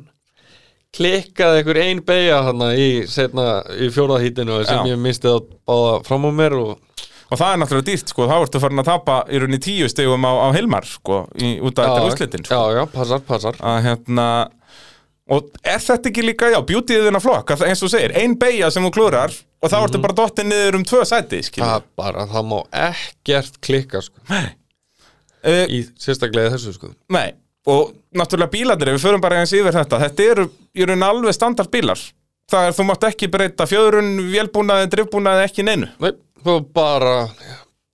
klikkaði einhver ein beigja hana í, setna, í fjórða hítinu sem Já. ég misti að báða fram á mér og og það er náttúrulega dýrt sko, þá ertu farin að tapa í rauninni 10 stegum á, á Hilmar sko, í, út af þetta úrslutin sko. Já, já, passar, passar að hérna og er þetta ekki líka, já, bjútið þinn að flokk að eins og þú segir, ein beigja sem þú klúrar og þá Mhm. ertu bara dottinn niður um tvö sæti Það skilur. er bara, það má ekkert klikka sko uh, Í sérstaklega í þessu sko nei, og náttúrulega bílarnir ef við förum bara eins yfir þetta, þetta eru í raun alveg standard bílar það er, þú mátt ekki breyta fjöðrun, vélbúnaði drifbúnaði, ekki neinu Nei, það var bara,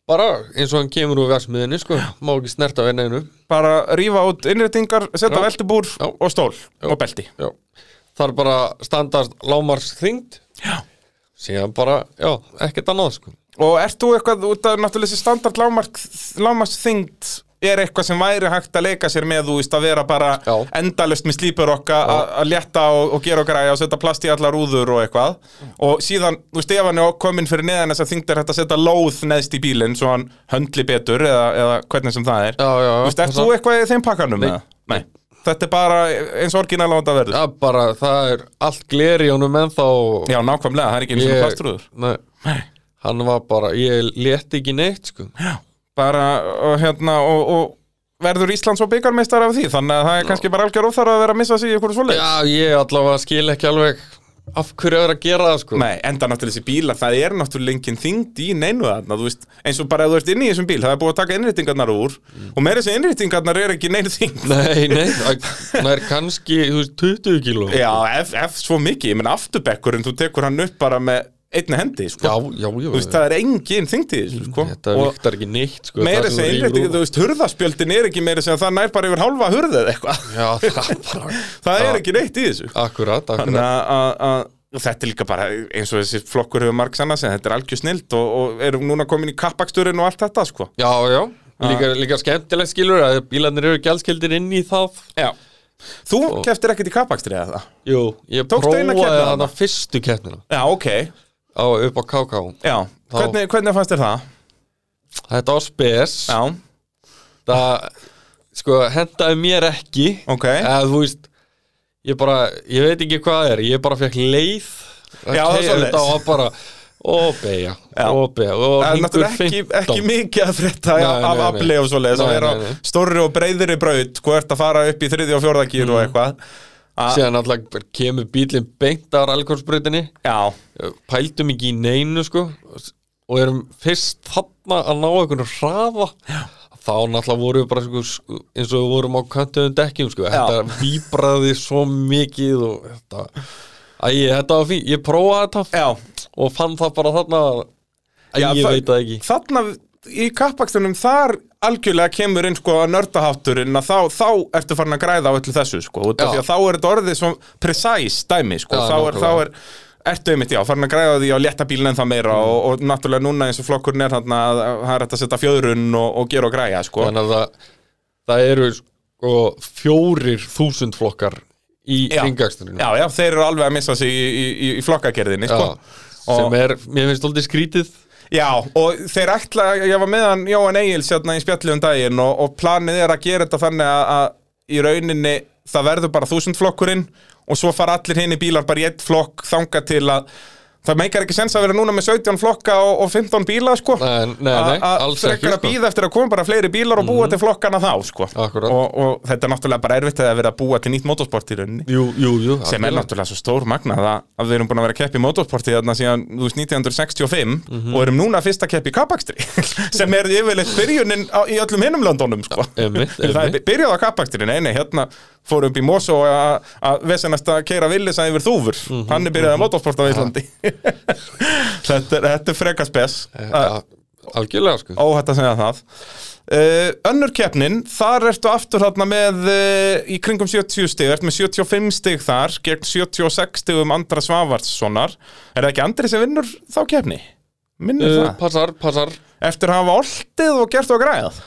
bara eins og hann kemur úr versmiðinni sko Má ekki snerta við neinu bara rífa út innréttingar, setja Já. veltubúr Já. og stól og belti Já, það er bara standart lámars þyngd Já. Síðan bara, já, ekkert annað sko og ert þú eitthvað út af náttúrulega þessi standard lámark, lámark þyngd er eitthvað sem væri hægt að leika sér með þú veist að vera bara Já. endalust með slípur okkar að að létta og, og gera okkar að setja plast í allar úður og eitthvað og síðan, þú veist, ef hann er komin fyrir neðan þess að þyngd er hægt að setja lóð neðst í bílinn svo hann höndli betur eða, eða hvernig sem það er Já, já, já, þú veist, ert passa. þú eitthvað í þeim pakkanum? Nei. eða? Nei. Þetta er bara eins orginal á þetta verður Það er bara, það er allt gleri honum ennþá og Já, nákvæmlega, það er ekki eins og ég- plastrúður Nei, hann var bara, ég létt ekki neitt sko bara og, hérna, og, og verður Ísland svo byggarmeistar af því þannig að það er kannski bara algjör óþar að vera að missa sig í ykkur svoleið Já, ég allavega skil ekki alveg af hverju er að gera það sko Nei, enda náttúrulega þessi bílar, það er náttúrulega engin þyngd í neinu þarna, þú veist, eins og bara ef þú ert inni í þessum bíl, það er búið að taka innrýtingarnar úr Mm. og meira þessi innrýtingarnar er ekki neinu þyngd Nei, nei, það er kannski, þú veist, 20 kíló Já, ef, ef svo mikið, ég menn afturbekkurinn, þú tekur hann upp bara með einni hendi, já, sko, já, já þú veist, það er engin þyngd í þessu, sko Þetta Og- viktar ekki neitt sko meira það sem þessi þú innrýtingar, rífur úr. þú veist, hurðaspjöldin er ekki meira þessi að það nær bara yfir hálfa hurðið eitthvað, Já, það er bara það er Já. ekki neitt í þessu Akkurat, akkurat Þannig að- að að- og þetta er líka bara eins og þessi flokkur hefur marg sann að segja, þetta er algjör snilt og, og erum núna komin í kappaksturinn og allt þetta sko. Já, já, líka, líka skemmtilegt skilur að bílarnir eru gælskildir inn í það Já Þú keftir ekkert í kappakstri eða það? Jú, ég Tókstu eina prófaði keppnina hana fyrstu keppnina Já, ok á, upp á KK Já, hvernig, hvernig fannst þér það? Þetta á spes Já, það sko, hendaði mér ekki ok eða þú veist ég bara, ég veit ekki hvað það er ég bara fekk leið að Já, það er keyra svoleiðis. þetta og bara og beigja, Já. og beigja og Það er hringur náttúrulega ekki, 15. ekki mikið að frétta Nei, af nei, nei. afli og svoleiðis að Nei, vera á nei, nei. stórri og breyðri braut hvað ert að fara upp í þriði og fjórða kýr og eitthvað að, síðan alltaf kemur bílinn beint á rallkorsbreytinni Já, Eh, pældum ekki í neinu sko og erum fyrst þarna að ná einhvern hraða þá náttúrulega vorum við bara sko, sko, eins og við vorum á kantuðum dekkjum sko. þetta víbraði svo mikið og þetta Æ, þetta var fín, ég prófaði þetta já og fann það bara þarna að Æ, Já, ég það- veit það ekki Þarna í kappakstunum þar algjörlega kemur inn sko að nördahátturinn að þá, þá ertu farin að græða á öllu þessu sko út af Já. því að þá er þetta orðið svo precise dæmi sko Já, þá er, þá nákvæmlega. Mm. er Ertu einmitt, já, farin að græða á því að létta bílinn en það meira og, og náttúrulega núna eins og flokkurinn er þarna að að það er hægt að setja fjöðrun og, og gera og græja, sko. þannig að það, það eru sko, fjórir þúsund flokkar í Já. ringaksturinn Já, já, þeir eru alveg að missa sig í, í, í, í flokkagerðinni, sko. sem Og- er, mér finnst alltaf skrítið Já, og þeir ætla, ég var með hann Jóhann Egils hérna í spjalli um daginn og, og planið er að gera þetta þannig að, að í rauninni það verður bara þúsundflokkurinn og svo fara allir hinn í bílar bara í einn flokk þanga til að það meikar ekki sens að vera núna með 17 flokka og, og 15 bíla sko Nei, nei, nei, Að- að alls ekki, frekar að sko. Mhm. býða eftir að koma bara fleiri bílar og búa til flokkana þá sko Akkúrat. og, og þetta er náttúrulega bara erfitt að vera að búa til nýtt motorsport í rauninni jú, jú, jú, sem er náttúrulega svo stór magnað að, að við erum búin að vera að keppa í motorsporti þarna síðan, þú veist, 1965 Mhm. og erum núna fyrst að keppa í kappakstri sem er yfirleitt byrjunin á, í öllum hinnum landunum, sko einmitt, það er einmitt. by- byrjað á kappakstri, nei, nei, hérna fórum upp í Mosó að- að vesenast að keira villisa yfir þúfur, Mhm. hann er byrjað á motorsport á Íslandi þetta, er, þetta er frekar spes Ja, algjörlega sko óhætt að segja það Uh, önnur keppnin, þar ertu aftur þarna með uh, í kringum 70 stig, ertu með 75 stig þar gegn 76 stigum Andra Svavarsssonar er það ekki Andri sem vinnur þá keppni? Minnur uh, það? Passar, passar Eftir að hafa oltið og gert og græðað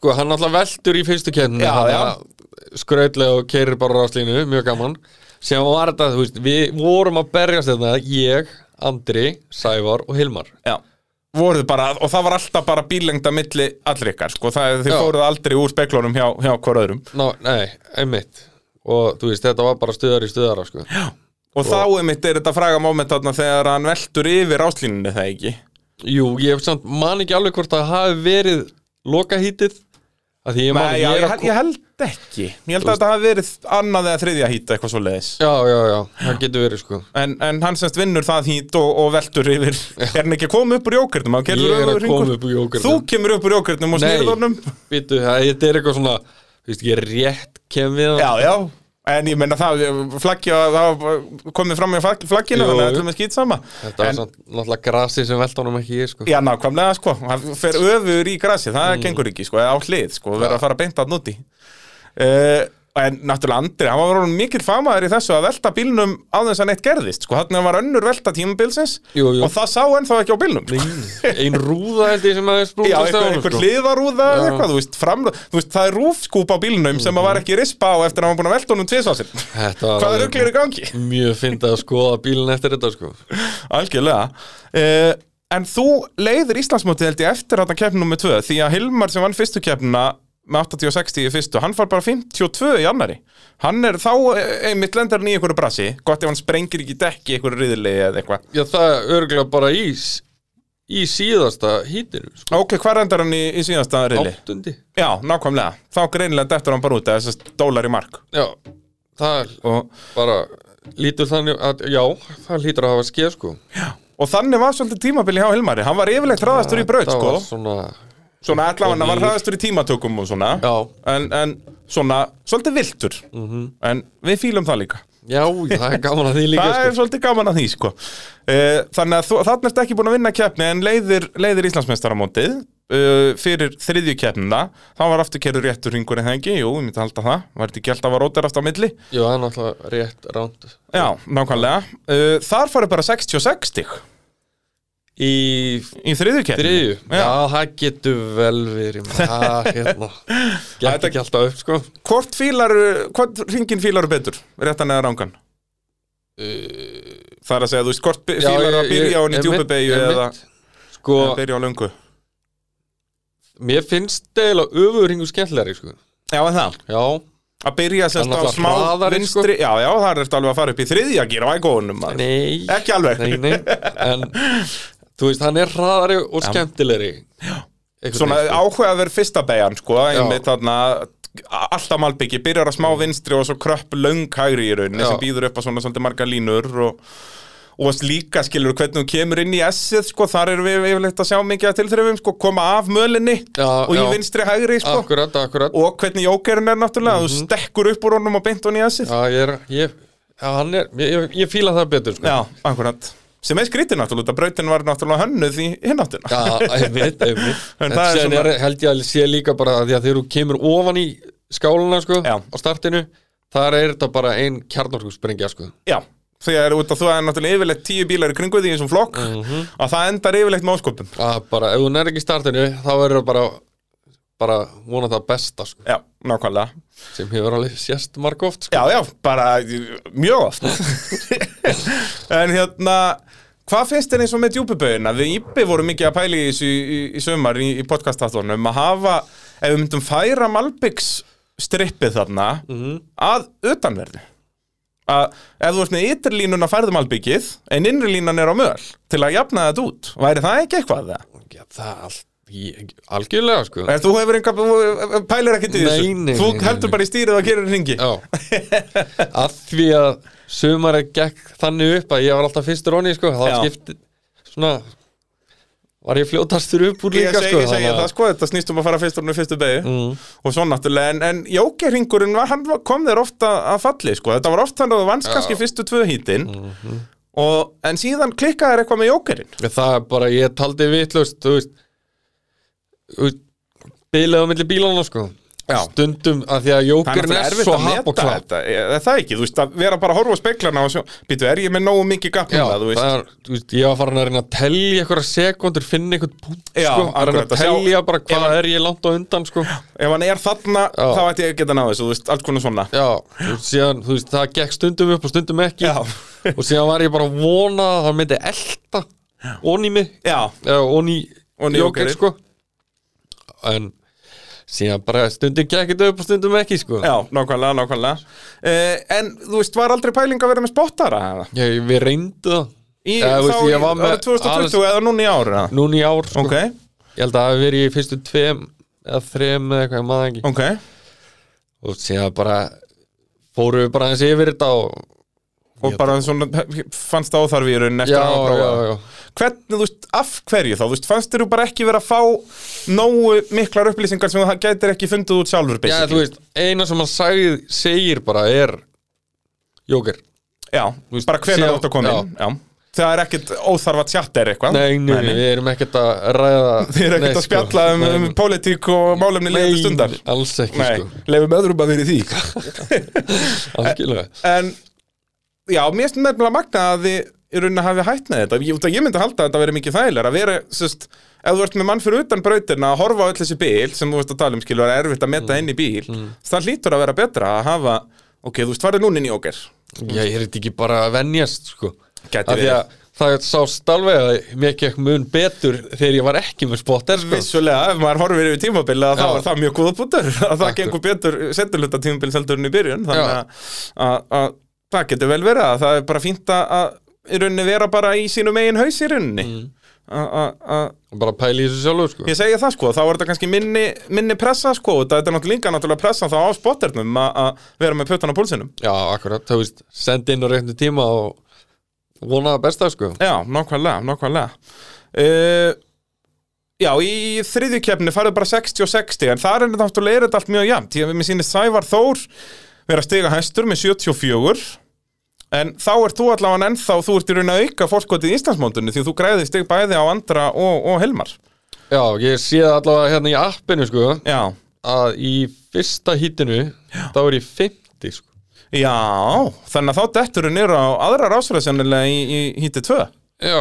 Sko, hann alltaf veldur í fyrstu kenni Já, Skrautlega og keirir bara ráslínu, mjög gaman Sem var þetta, þú veist, við vorum að berjast þetta Ég, Andri, Sævar og Hilmar Já voruð bara, og það var alltaf bara bílengda milli allri ykkar, sko, það, þið Já. fóruð aldrei úr speklunum hjá, hjá hver öðrum Ná, nei, einmitt Og þú veist, þetta var bara stuðar í stuðara sko. og þá einmitt er þetta fræga moment þarna þegar hann veltur yfir áslínunni það ekki Jú, ég samt man ekki alveg hvort það hafi verið Lokahítið Að því ég man Nei, já, ég, ég er að held- ég held ekki Ég held að þetta hafi verið annað eða þriðja hít eitthvað svo leiðis Já, já, já, það getur verið sko en, en hann semst vinnur það hít og, og veltur yfir Er hann ekki að koma upp úr jókernum? Ég er að koma upp úr jógurtum Þú kemur upp úr jókernum og Nei, snýrð honum býtu, það- þetta er eitthvað svona Þú veist, ég rétt kem við hann Já, já En ég meina það, flaggja, það komið fram í flagginu Jú, Þannig að jú. ætlum við skýt sama Þetta var svona náttúrulega grasi sem velt honum ekki ég, sko Já, nákvæmlega, sko, hann fer öfur í grasi, það Mm. gengur ekki, sko, eða á hlið, sko, verður að fara beint að núti. Uh, en náttúrulega Andri, hann var orðinn mikill famaður í þessu að velta bílnum á þess að neitt gerðist, sko, hann var önnur velta tímabilsins Jú, jú. og það sá ennþá ekki á bílnum, sko. Ein rúða held ég sem aðeins Já, brúðast einhver, einhver hliðarúða eða eitthvað, þú veist, fram, þú veist, það er rúfskúp á bílnum sem Mhm. að var ekki rispa á eftir að hann var búin að velta honum tvisvásinn. Þetta Hvað var er alveg ruglir í gangi? Mjög fyndið að skoða bílinn eftir þetta, sko Algjörlega uh, En þú leiðir Íslandsmótið held ég eftir þarna keppnum nummer 2 Því að Hilmar sem vann fyrstu keppnuna með 80 og 60 í fyrstu, hann far bara 52 í annari Hann er þá eh, einmitt lendar hann í einhverju brasi Gott ef hann sprengir ekki í dekki í einhverju riðlegi eða eitthvað Já, það er örgulega bara í, s- í síðasta hítinu, sko Ok, hvað rendar hann í, í síðasta riðli? Áttundi Já, nákvæmlega, þá greinilega dettur hann bara út eða þessast dólar í mark Já, það er og, bara Lítur þannig að, já, það lítur að hafa skeð, sko og þannig var svolítið tímabili hjá Hilmari Hann var yfirleitt hraðastur í braut, Það sko var svona Svona allavega hann var Og nýr. hraðastur í tímatökum og svona Já, en, en svona, svolítið viltur Mhm. en við fýlum það líka já, það er gaman að því líka, það er sko svolítið gaman að því sko uh, þannig að þú, þarna ertu ekki búin að vinna keppni en leiðir, leiðir Íslandsmeistaramótið uh, fyrir þriðju keppnina þá var aftur kerður réttur ringur en það ekki jú, ég myndi halda það, var þetta ekki alltaf að róterast á milli Jú, það er náttúrulega rétt ránd Eh, já, nákvæmlega uh, þar farið bara 60 og 60 stig. í Í þriðju keppni? þriðju Já. já. það getur vel verið maður. það hérna Þetta- gekk ekki alltaf upp sko Hvort fílar, hvort ringin fílar betur? Réttan eða rángan? Það er að segja, þú veist, hvort bi- Já, fílar að ég- byrja á henni ég- djúpi einmitt, beigju eða einmitt. sko, eða byrja á löngu? mér finnst eiginlega öfuringu skemmtilegri sko Já, en það. já, Að byrja sérst á Hann náttúrulega smá hraðari, sko. vinstri, já, já, það er alveg að fara upp í þriðja gír á ægóðunum, maður. nei Ekki alveg. nei, nei, en þú veist, hann er hraðari og skemmtilegri Einhvern Svona veginn, sko. áhugaður fyrsta beigjan, sko, einmitt þarna, a- alltaf malbyggi, byrjar á smá vinstri og svo kröpp löng hægri í rauninni Mm. Já. sem býður upp á svona svolítið marga línur og og líka skilur hvernig hún kemur inn í S-ið sko, þar erum við yfirleitt að sjá mikið að tilþrifum sko, koma af mölinni Já, og í já. vinstri hægri sko. akkurat, Mhm. akkurat og hvernig jókerinn er náttúrulega þú stekkur upp úr honum og beint honum í S-ið já, ég er, ég, já, hann er ég, ég, ég fíla það betur, sko Já, akkurat sem er skrítið náttúrulega, þetta brautin var náttúrulega hönnuð í hinnáttuna Já, einmitt, einmitt En En, það er en svona- er, held ég að sé líka bara að því að þegar þú kemur ofan í skáluna sko, Já. á startinu þar er þetta bara ein kjarnorku sprengja sko. Já, þegar út af þú er náttúrulega yfirleitt tíu bílar í kringu því eins og flokk og það endar yfirleitt með áskopum að bara, ef þú nær ekki í startinu þá verður það bara, bara vona það besta sko, Já, nákvæmlega sem hefur alveg sérst marg oft sko. Já, já, bara mjög oft En hérna Hvað finnst þér eins og með djúpubauðina? Við Íbbi vorum mikið að pæli í þessu í, í, í sömar í, í podcastáttunum að hafa, ef við myndum færa Malbyggs strippið þarna Mhm. að utanverðu að ef þú ert með ytrirlínuna færðu Malbyggið en innrilínan er á möl til að jafna þetta út, væri það ekki eitthvað það? Já, það er all, ég, algjörlega sko. Er, þú hefur enga, þú pælir ekkert í Nei, þessu nei, þú nei, nei, heldur nei. bara í stýrið og gerir hringi Já Að því að sumari gekk þannig upp að ég var alltaf fyrstur onni sko, þá Já. skipti svona var ég fljótastur upp úr Ég líka segi, sko, Mm. ég segi þannig að- það sko, þetta snýst um að fara fyrst úr með fyrstu beigju og svo náttúrulega, en, en jókerringurinn var- hann var- kom þér ofta að falli sko, þetta var ofta hann að þú vannst kannski fyrstu tvö hítin Mhm. og, en síðan klikkaði þér eitthvað með jókerinn Ég, Það er bara, ég taldi vitlust Þú veist, þú veist Bilaði á milli bílana sko Já. Stundum að því Það að er jókurinn er náttúrulega erfitt svo að hap og meta klap þetta, er er það ekki, þú veist, að vera bara að horfa á speklana og sjá, býtu, er ég með nógu mikið gap Já, núna, þú veist, það er, þú veist, ég var farin að reyna að telja eitthvað sekundur, finna eitthvað punkt Já, sko, að reyna akkurat, að að sjá- telja bara ef hvað er ég langt á undan sko. ef hann er þarna, þá Já. ætti ég að geta náðu þessu, þú veist, allt konar svona Já, þú veist, síðan, þú veist, það gekk stundum upp og stundum ekki Já. og síðan var ég bara að vona að það myndi elta onni mig, Já, eða onni Oní jókir, jókerinn. sko en síðan bara stundum gekk þetta upp og stundum ekki, sko já, nákvæmlega, nákvæmlega uh, En, þú veist, var aldrei pæling að vera með spottara? eða? ég, við reyndu það Í, Eða, Eh, þú þá, veist, í ég var með árið 2020 eða núna í ára? núna í ár, sko Ok, ég held að það hafi verið í fyrstu tveim eða þreim eða eitthvað, ég maður ekki ok og síðan bara fórum við bara aðeins yfir þetta og Og Ég- bara svona, fannst það óþarfi í rauninni eftir já, að hafa já, prófað já, Hvernig, þú veist, af hverju þá? Þú veist, fannst þér þú bara ekki verið að fá nógu miklar upplýsingar sem það gætir ekki fundið út sjálfur, já, þú veist, eina sem hann sagði, segir bara er jókir Já, þú veist, bara hvernig sé- þú átt að koma já. inn Já, það er ekkit óþarfa tjatt er eitthvað Nei, nei, við erum ekkert að ræða sko. Þið er ekkit nei, sko. að spjalla um, um pólitík og málefni leiðandi stundar Alls ekki, Nei, leifum öðrum að vera í því sko Algjörlega En, já, mér finnst nefnilega magna að þið í rauninni hafi hætt með þetta ég, út að ég myndi halda að þetta veri mikið þægilega að vera, sérst, ef þú ert með mann fyrir utan brautina að horfa á öll þessi bíl sem þú veist að tala um skilur er erfitt að meta Mm. inn í bíl það hlýtur að vera betra að hafa ok, þú veist, farið núna inn í okkur Já, ég er þetta ekki bara að venjast, sko Gæti Af því verið. að Það sást alveg að mér gekk mun betur þegar ég var ekki með spotter, sko vissulega, ef maður horfir yfir tímabilið að þá Já. er það mjög góða bútur að það Akkur. gengur betur setjuluta tímabilið heldur en í byrjun þannig Já. að, að, að það getur vel verið að það er bara fínt að, að í rauninni vera bara í sínum eigin haus í rauninni mm. að Og bara pæli í þessu sjálfu, sko Ég segja það sko, þá er þetta kannski minni, minni pressa sko, og þetta er náttúrulega líka náttúrulega pressa þá á spotternum að- að vera með pötan á púlsinum. Já, akkurat, þú veist, sendi inn á réttu tíma og vona það besta, sko Já, nákvæmlega, nákvæmlega. Uh, já, í þriðju keppni farið bara 60 og 60, en þar er þetta náttúrulega er þetta allt mjög jæmt. Ég mér sýnir Sævar Þór vera að stiga hæstur með 74, en þá er þú allavega ennþá, þú ert í raun að auka fórskotið í Íslandsmóndunni því að þú græði stig bæði á Andra og, og Helmar. Já, ég sé það allavega hérna í appinu, sko Já, Að í fyrsta hítinu, þá er ég 50, sko já, þannig að þá detturinn eru á aðra rásræðsjanilega í, í híti 2. Já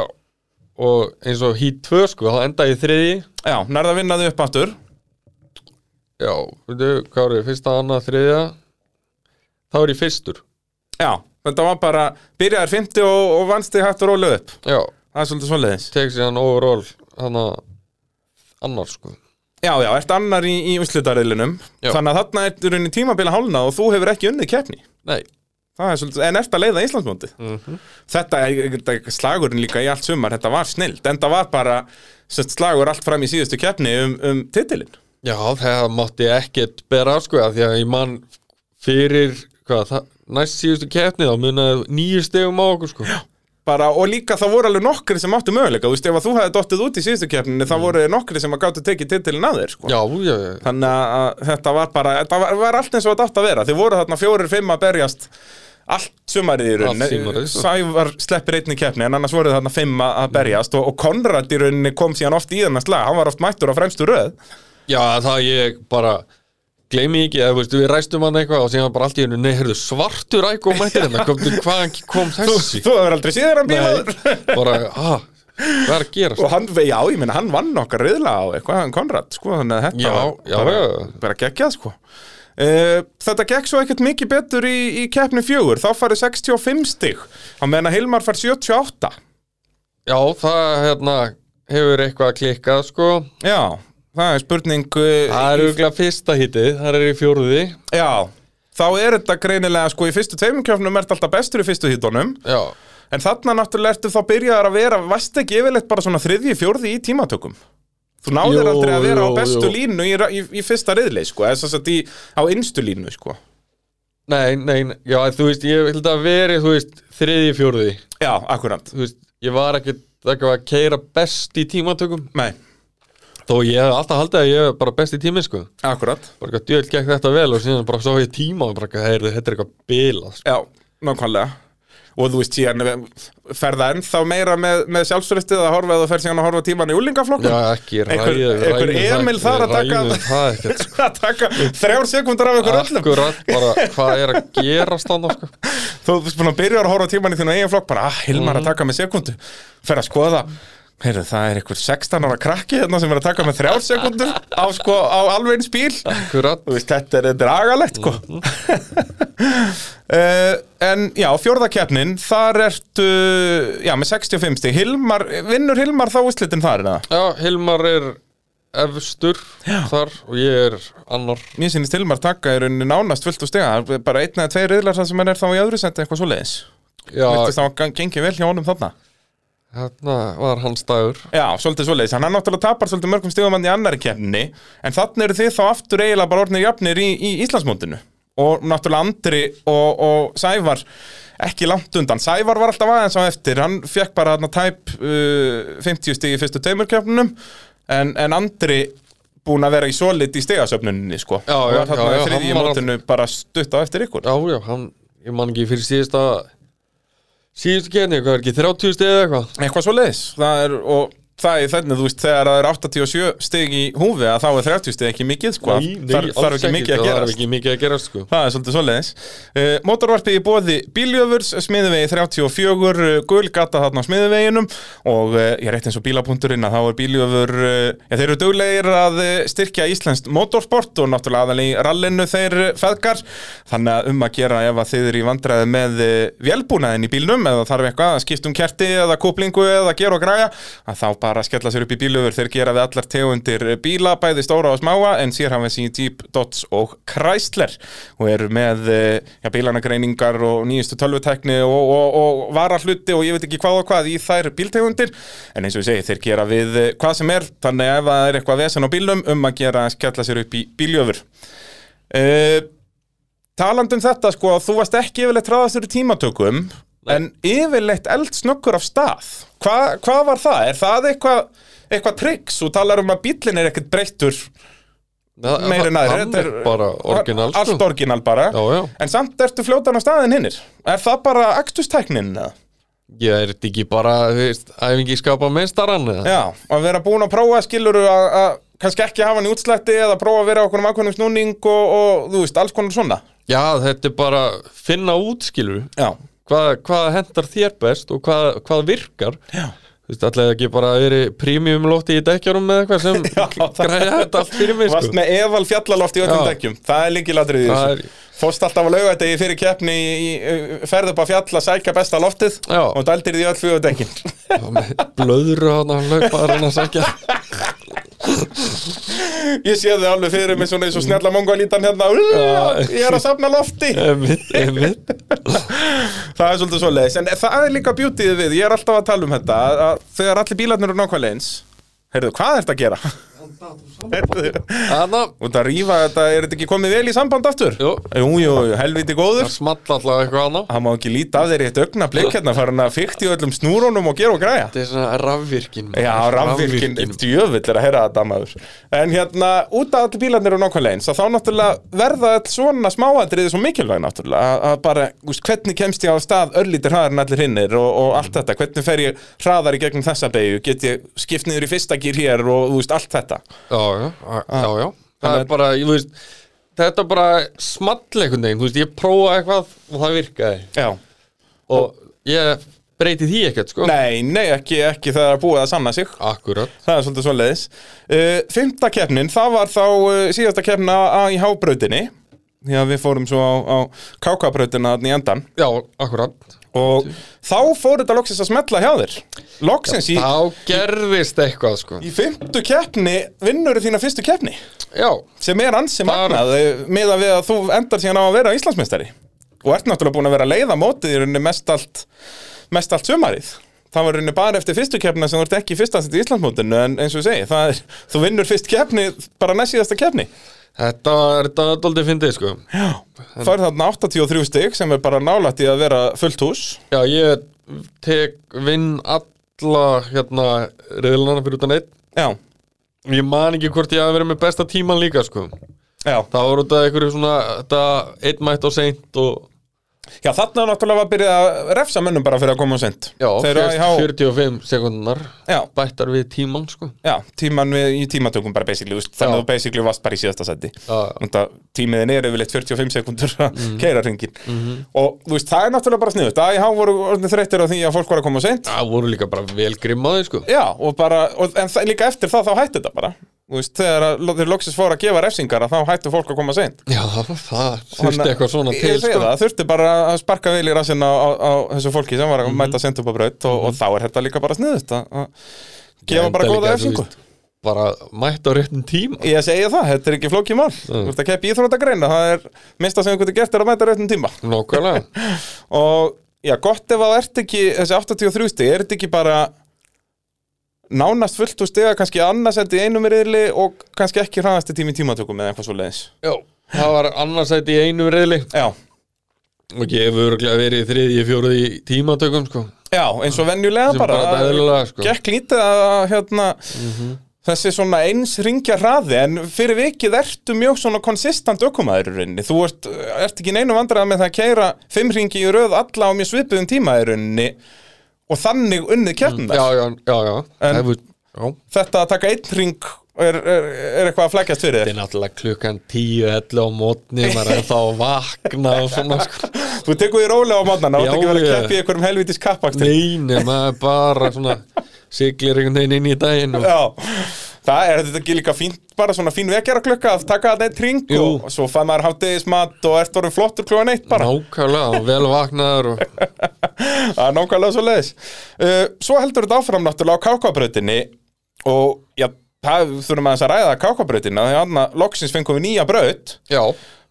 og eins og Heat 2 sko, það endaði í þriði Já, nærða að vinna þau upp aftur já, veitu, hvað er fyrsta, annað, þriðja þá er ég fyrstur Já, þetta var bara Byrjaðar 50 og, og vannst þig hægt og róluð upp já, Það er svolítið svoleiðis tek sér hann overall hann að annars sko Já, já, ert annar í, í úslitaðriðlinum Já. Þannig að þarna ertu raunin tímabila hálnað og þú hefur ekki unnið keppni nei, Það er svolítið, en ert að leiða Íslandsmóti Mhm. Þetta er- þetta er slagurinn líka í allt sumar Þetta var snild, en það var bara sett, slagur allt fram í síðustu keppni um, um titilinn já, það mátti ekkert bera sko, af því að ég man fyrir, hvað, það, næst síðustu keppni þá munaði nýju stegum á okkur sko já, bara, og líka það voru alveg nokkri sem áttu möguleika þú veist, ef að þú hefði dottið út í síðustu keppninu það voru nokkri sem að gáttu tekið titilin að þér sko. já, já, já. þannig að- að þetta var bara þetta var, var allt eins og þetta átt að vera þið voru þarna fjórir, fimm að berjast allt sumarið í Allt sumarið, rauninni sko. Sævar sleppir einni keppni en annars voru þarna fimm að að berjast og, og Konrad í rauninni kom síðan oft í þennan slag hann var oft mættur á fremstu röð Já, það ég bara gleymi ekki, eða veist, við ræstum hann eitthvað og síðan bara allt í hennu, nei, heyrðu, svartur ægó mættir hérna, kom, hvaðan kom þessi? þú hefur aldrei síðan hann bílaður Nei, bara, ha, hvað er að gerast? og hann, já, ég meina, hann vann okkar riðla á eitthvað, hann Konrad, sko, þannig að þetta Já, var já, bara, já. bara geggjað, sko Uh, þetta gekk svo ekkert mikið betur í, í keppni fjögur, þá farið 65 stig á meðan að Hilmar fær 78 Já, það, hérna, hefur eitthvað að klikka, sko. já, það er spurning uh, Það er auðvitað fyrsta hítið, það er í fjóruði. já, þá er þetta greinilega sko í fyrstu tveimum keppnum ert alltaf bestur í fyrstu hítunum Já, en þarna náttúrulega ertu þá byrjaðar að vera varst ekki yfirleitt bara svona þriðji, fjórði í tímatökum þú náðir Jú, aldrei að vera jú, á bestu jú. línu í, ra- í, í fyrsta riðli sko, eða þess að því á innstu línu sko nei, nei, nei, já, þú veist, ég held að veri, þú veist, þriði, fjóruði. Já, akkurat Þú veist, ég var ekkert eitthvað að keira best í tímatökum, Nei, þó ég hef alltaf haldið að ég hef bara best í tími, sko. akkurat bara eitthvað djöld gekk þetta vel og síðan bara sá ég tíma og bara eitthvað, heyrðu, þetta er eitthvað bilað sko. Já, nákvæmlega Og þú veist síðan ferða ennþá meira með, með sjálfsfrystið að horfa eða þú fer síðan að horfa tíman í úlingaflokkum Já, ekki ræða Einhver- einhver Emil þar að taka- það ekkert sko. að taka þrjár sekundar af Ah. ykkur öllum Akkurat bara hvað er að gera standa sko. Þú veist búin að byrja að horfa á tíman í þínu eigin flokk bara, ah, Hilmar að taka með sekundu fer að skoða Heyrðu, það er einhver 16 ára krakki þarna sem er að taka með þrjár sekundur á, sko, á alveg eins bíl Akkurat Þú veist, þetta er dragalegt, sko. uh, en já, fjórðakeppnin, þar ertu, já, með 65 stig. Hilmar, vinnur Hilmar þá úslitin þar, eða? Já, Hilmar er efstur þar og ég er annar Mér sýnist Hilmar taka í rauninni nánast fullt og stiga. Það er Bara einn eða tveir riðlar þar sem hann er þá í öðru sendi eitthvað svo leiðis. Já, Viltist þá gang- gengið vel hjá honum þarna? hérna var hans dagur Já, svolítið svoleiðis. Hann hann náttúrulega tapar svolítið mörgum stíðumann í annari keppni, en þannig eru þið þá aftur eiginlega bara orðnir jafnir í, í Íslandsmótinu. Og náttúrulega Andri og, og Sævar ekki langt undan. Sævar var alltaf aðeins á eftir, hann fekk bara þarna tæp uh, 50 stíð í fyrstu taumurkeppnunum, en, en Andri búin að vera í solid í stigasöfnuninni, sko. Já, Og já, var þarna já, já, þriðji í hann var mótinu bara stutt á eftir ykkur. Já, já, hann, ég man ekki fyrir síðasta síðustu genið, hvað er ekki 30 stið eða eitthvað Eitthvað svoleiðis. Það er, og það er þannig, þú veist, þegar það er 87 stig í húfi að þá er 30 stig ekki mikið, sko. Þar- þarf alls ekki mikið að það þarf gerast. ekki mikið að gerast sko Það er svolítið svoleiðis. Uh, Mótorvarpið í bóði Bíljöfurs, Smiðuvegi 34, uh, Gullgata þarna á Smiðuveginum og uh, ég er eitt eins og bílapunkturinn að þá er Bíljöfur, uh, já, þeir eru duglegir að uh, styrkja íslenskt motorsport og náttúrulega aðal í rallinu þeir uh, feðgar. Þannig að um að gera ef að þið eru í vandræði með uh, vélbúnaðin í bílnum eða þarf eitthvað að skipta um kerti eða kúplingu eða gera og græja að þá bara skella sér upp í Bíljöfur. Þeir gera við allar tegundir uh, bíla, bæði stóra og smáa en sér hafa sín Jeep, Dodge og Chrysler og eru með eh, já, bílanagreiningar og nýjustu tölvutekni og, og, og varahluti og ég veit ekki hvað og hvað í þær bíltegundir en eins og ég segi þeir gera við eh, hvað sem er þannig að ef það er eitthvað vesen á bílum um að gera að skella sér upp í bíljöfur uh, Talandi um þetta sko þú varst ekki yfirleitt ráðastur í tímatökum en yfirleitt eldsnöggur af stað Hva, hvað var það? Er það eitthvað eitthvað tryggs og talar um að bíllinn er ekkert breyttur Það- meira en aðrir hann Þetta er bara orginal sko. Allt orginal bara já, já. En samt ertu fljótan á staðin hinnir Er það bara akstustæknin? eða? Ég er þetta ekki bara, þú veist, æfingi skapa meistarann eða? Já, að vera búin að prófa skilur að að kannski ekki hafa hann í útslætti eða prófa að vera okkur um ákveðnum snúning og, og þú veist, alls konar svona Já, þetta er bara finna út, skilur Já, hvað, hvað hendar þér best og hvað, hvað virkar Já. Þú veist, ætlaði ekki bara að veri prímjum lótti í dekkjarum með eitthvað sem græja þetta allt fyrir mig, Vast sko. með eval fjallaloft í öllum Já. dekkjum Það er líkilatrið í Það þessu Fórst alltaf á laugadegi fyrir keppni í, í, ferð upp að fjalla sækja besta loftið Já. og dældir því öll fjögur dekkin Og með blöðru hann að hlaupa að reyna að sækja. Ég sé þið alveg fyrir mig svona eins og snjalla mongolítan hérna Já. Ég er að safna lofti Einmitt, einmitt. Það er svolítið svo leiðis En það er líka bjútið við, ég er alltaf að tala um þetta að- að Þegar allir bílarnir eru nákvæmlega eins Heyrðu, hvað er þetta að gera? Heyrðu, Þannig að út að rífa þetta, er þetta ekki komið vel í samband aftur? Jú. jú, jú, helviti góður það smalla alltaf eitthvað annað. Það má ekki líta af þeir í eitt augna blik hérna farin að fykti öllum snúrónum og gera og græja Þetta er svona rafvirkin. maður. Já, rafvirkinn, djöfull er að heyra þetta maður En hérna, út af allir bílarnir og nákvæmlegin Svo þá náttúrulega verða all svona smáatriði svo mikilvæg náttúrulega að- Að bara, úst, hvernig kemst ég á stað örlítir hraðar en allir hinnir og, og allt þetta Hvernig fer ég hraðar í gegnum þessa beigju Get ég skipt niður í fyrsta gýr hér og þú veist, allt þetta Já, já, já, já. Það er bara, ég veist, þetta er bara small einhvern veginn, þú veist, ég prófa eitthvað og það virkaði. Já Og ég breyti því ekkert, sko. Nei, nei, ekki, ekki það er að búið að sanna sig Akkurat. Það er svolítið svoleiðis. Uh, fymta keppnin, það var þá uh, síðasta keppna í hábrautinni. Því að við fórum svo á, á kákabrautina þarna í endan. Já, akkurat. Og þá fór þetta loksins að smetla hjá þér. Loksins í, Þá gerðist eitthvað, sko. í fymtu keppni vinnur þína fyrstu keppni. Já, Sem er ansi Þar- magnað uh, miðað við að þú endar síðan á að vera Íslandsmeistari. Og ert náttúrulega búin að vera að leiða mótið í rauninni mest allt, mest allt sumarið. Það var í rauninni bara eftir fyrstu keppna sem þú ert ekki fyrst að í Íslandsmótinu en eins og ég segi, það er, þú vinnur fyrst keppni, bara næst síðasta keppni. þetta er þetta er dálítið fyndið, sko. Já, það er þarna 83 stygg sem er bara nálægt í að vera fullt hús Já, ég tek vinn alla, hérna, reyðlana fyrir utan einn. Já, Ég man ekki hvort ég hafi verið með besta tíman líka, sko. já, Það var út af einhverju svona, þetta einn mætt og seint og, já þarna náttúrulega var byrjað að refsa mönnum bara fyrir að koma á sent já, Þeir eru fyrst á- 45 sekundunar Já, bættar við tíman, sko. já, tíman við, í tímatökum bara basically, úst, þannig Já. að þú basically varst bara í síðasta seti Já. Tímiðin er yfirleitt 45 sekundur að Mhm. keira ringin Og þú veist, það er náttúrulega bara sniðut AIH voru orðnir þreyttir á því að fólk var að koma á sent Það voru líka bara vel grimmaði, sko. Já, og bara, og, en það, líka eftir það þá hætti þetta bara Þú veist, þegar að- þeir loksins fóru að gefa refsingar að þá hættu fólk að koma seint Já, það, það þurfti Þannig- eitthvað svona Ég til, segi sko. það, þurfti bara að sparka vel í rassinn á, á, á þessu fólki sem var Mhm. að mæta sent upp á braut og, og þá er þetta líka bara sniðust að að gefa bara Enda góða líka, þú efsingu veist, Bara mætt á réttum tíma. Ég segi það, þetta er ekki flókið mál Þú Mm. ert að keppa í Íþróttagreina, það er minnsta sem einhvern gert er að mæta réttum tíma Nókvælega. og já, gott ef að ert ekki þessi 83 stig, er þetta ekki bara nánast fullt úr stiga kannski annars endi í einum riðli og kannski ekki hraðasti tími í tímatökum eða eitthvað svo leiðis Já, það var annarsætt í einu reyðli Já, og ég hefur örglega verið í þriðji, fjóruði í tímatökum sko. já, eins og venjulega sem bara, bara þetta eðlilega sko. Mhm. gekk lítið að hérna, þessi svona eins ringja hraði en fyrir vikið ertu mjög svona konsistant ökumæður í rauninni þú ert, ert ekki í neinu vandræða með það að keira fimm ringi í röð alla á mjög svipuðum tíma í rauninni og þannig unnið kjarnar Mm, Já, já, já, já. En, hefur, já. þetta að taka einn ring er, er, er eitthvað að flækjast fyrir Þetta þér er náttúrulega klukkan 10-11 á mótni maður er þá að vakna og svona sko. þú tekur því rólega á mánana og Já, ekki verið að ég- keppi í einhverjum helvitis kappaktur Neini, maður er bara svona siglir einhvern veginn inn í daginn og, Já, það er þetta ekki líka fínt bara svona fín vekjara klukka að taka þetta eitt ring Jú. og svo fæ maður hátdegismat og ert orðin flottur klukkan eitt bara Nákvæmlega, og vel vaknaður og, Það er nákvæmlega svo leiðis uh, Svo heldur þetta áfram náttúrulega á kákabrautinni og já, það þurfum aðeins að ræða kákabrautina þegar hann loksins fengum við nýja braut Já,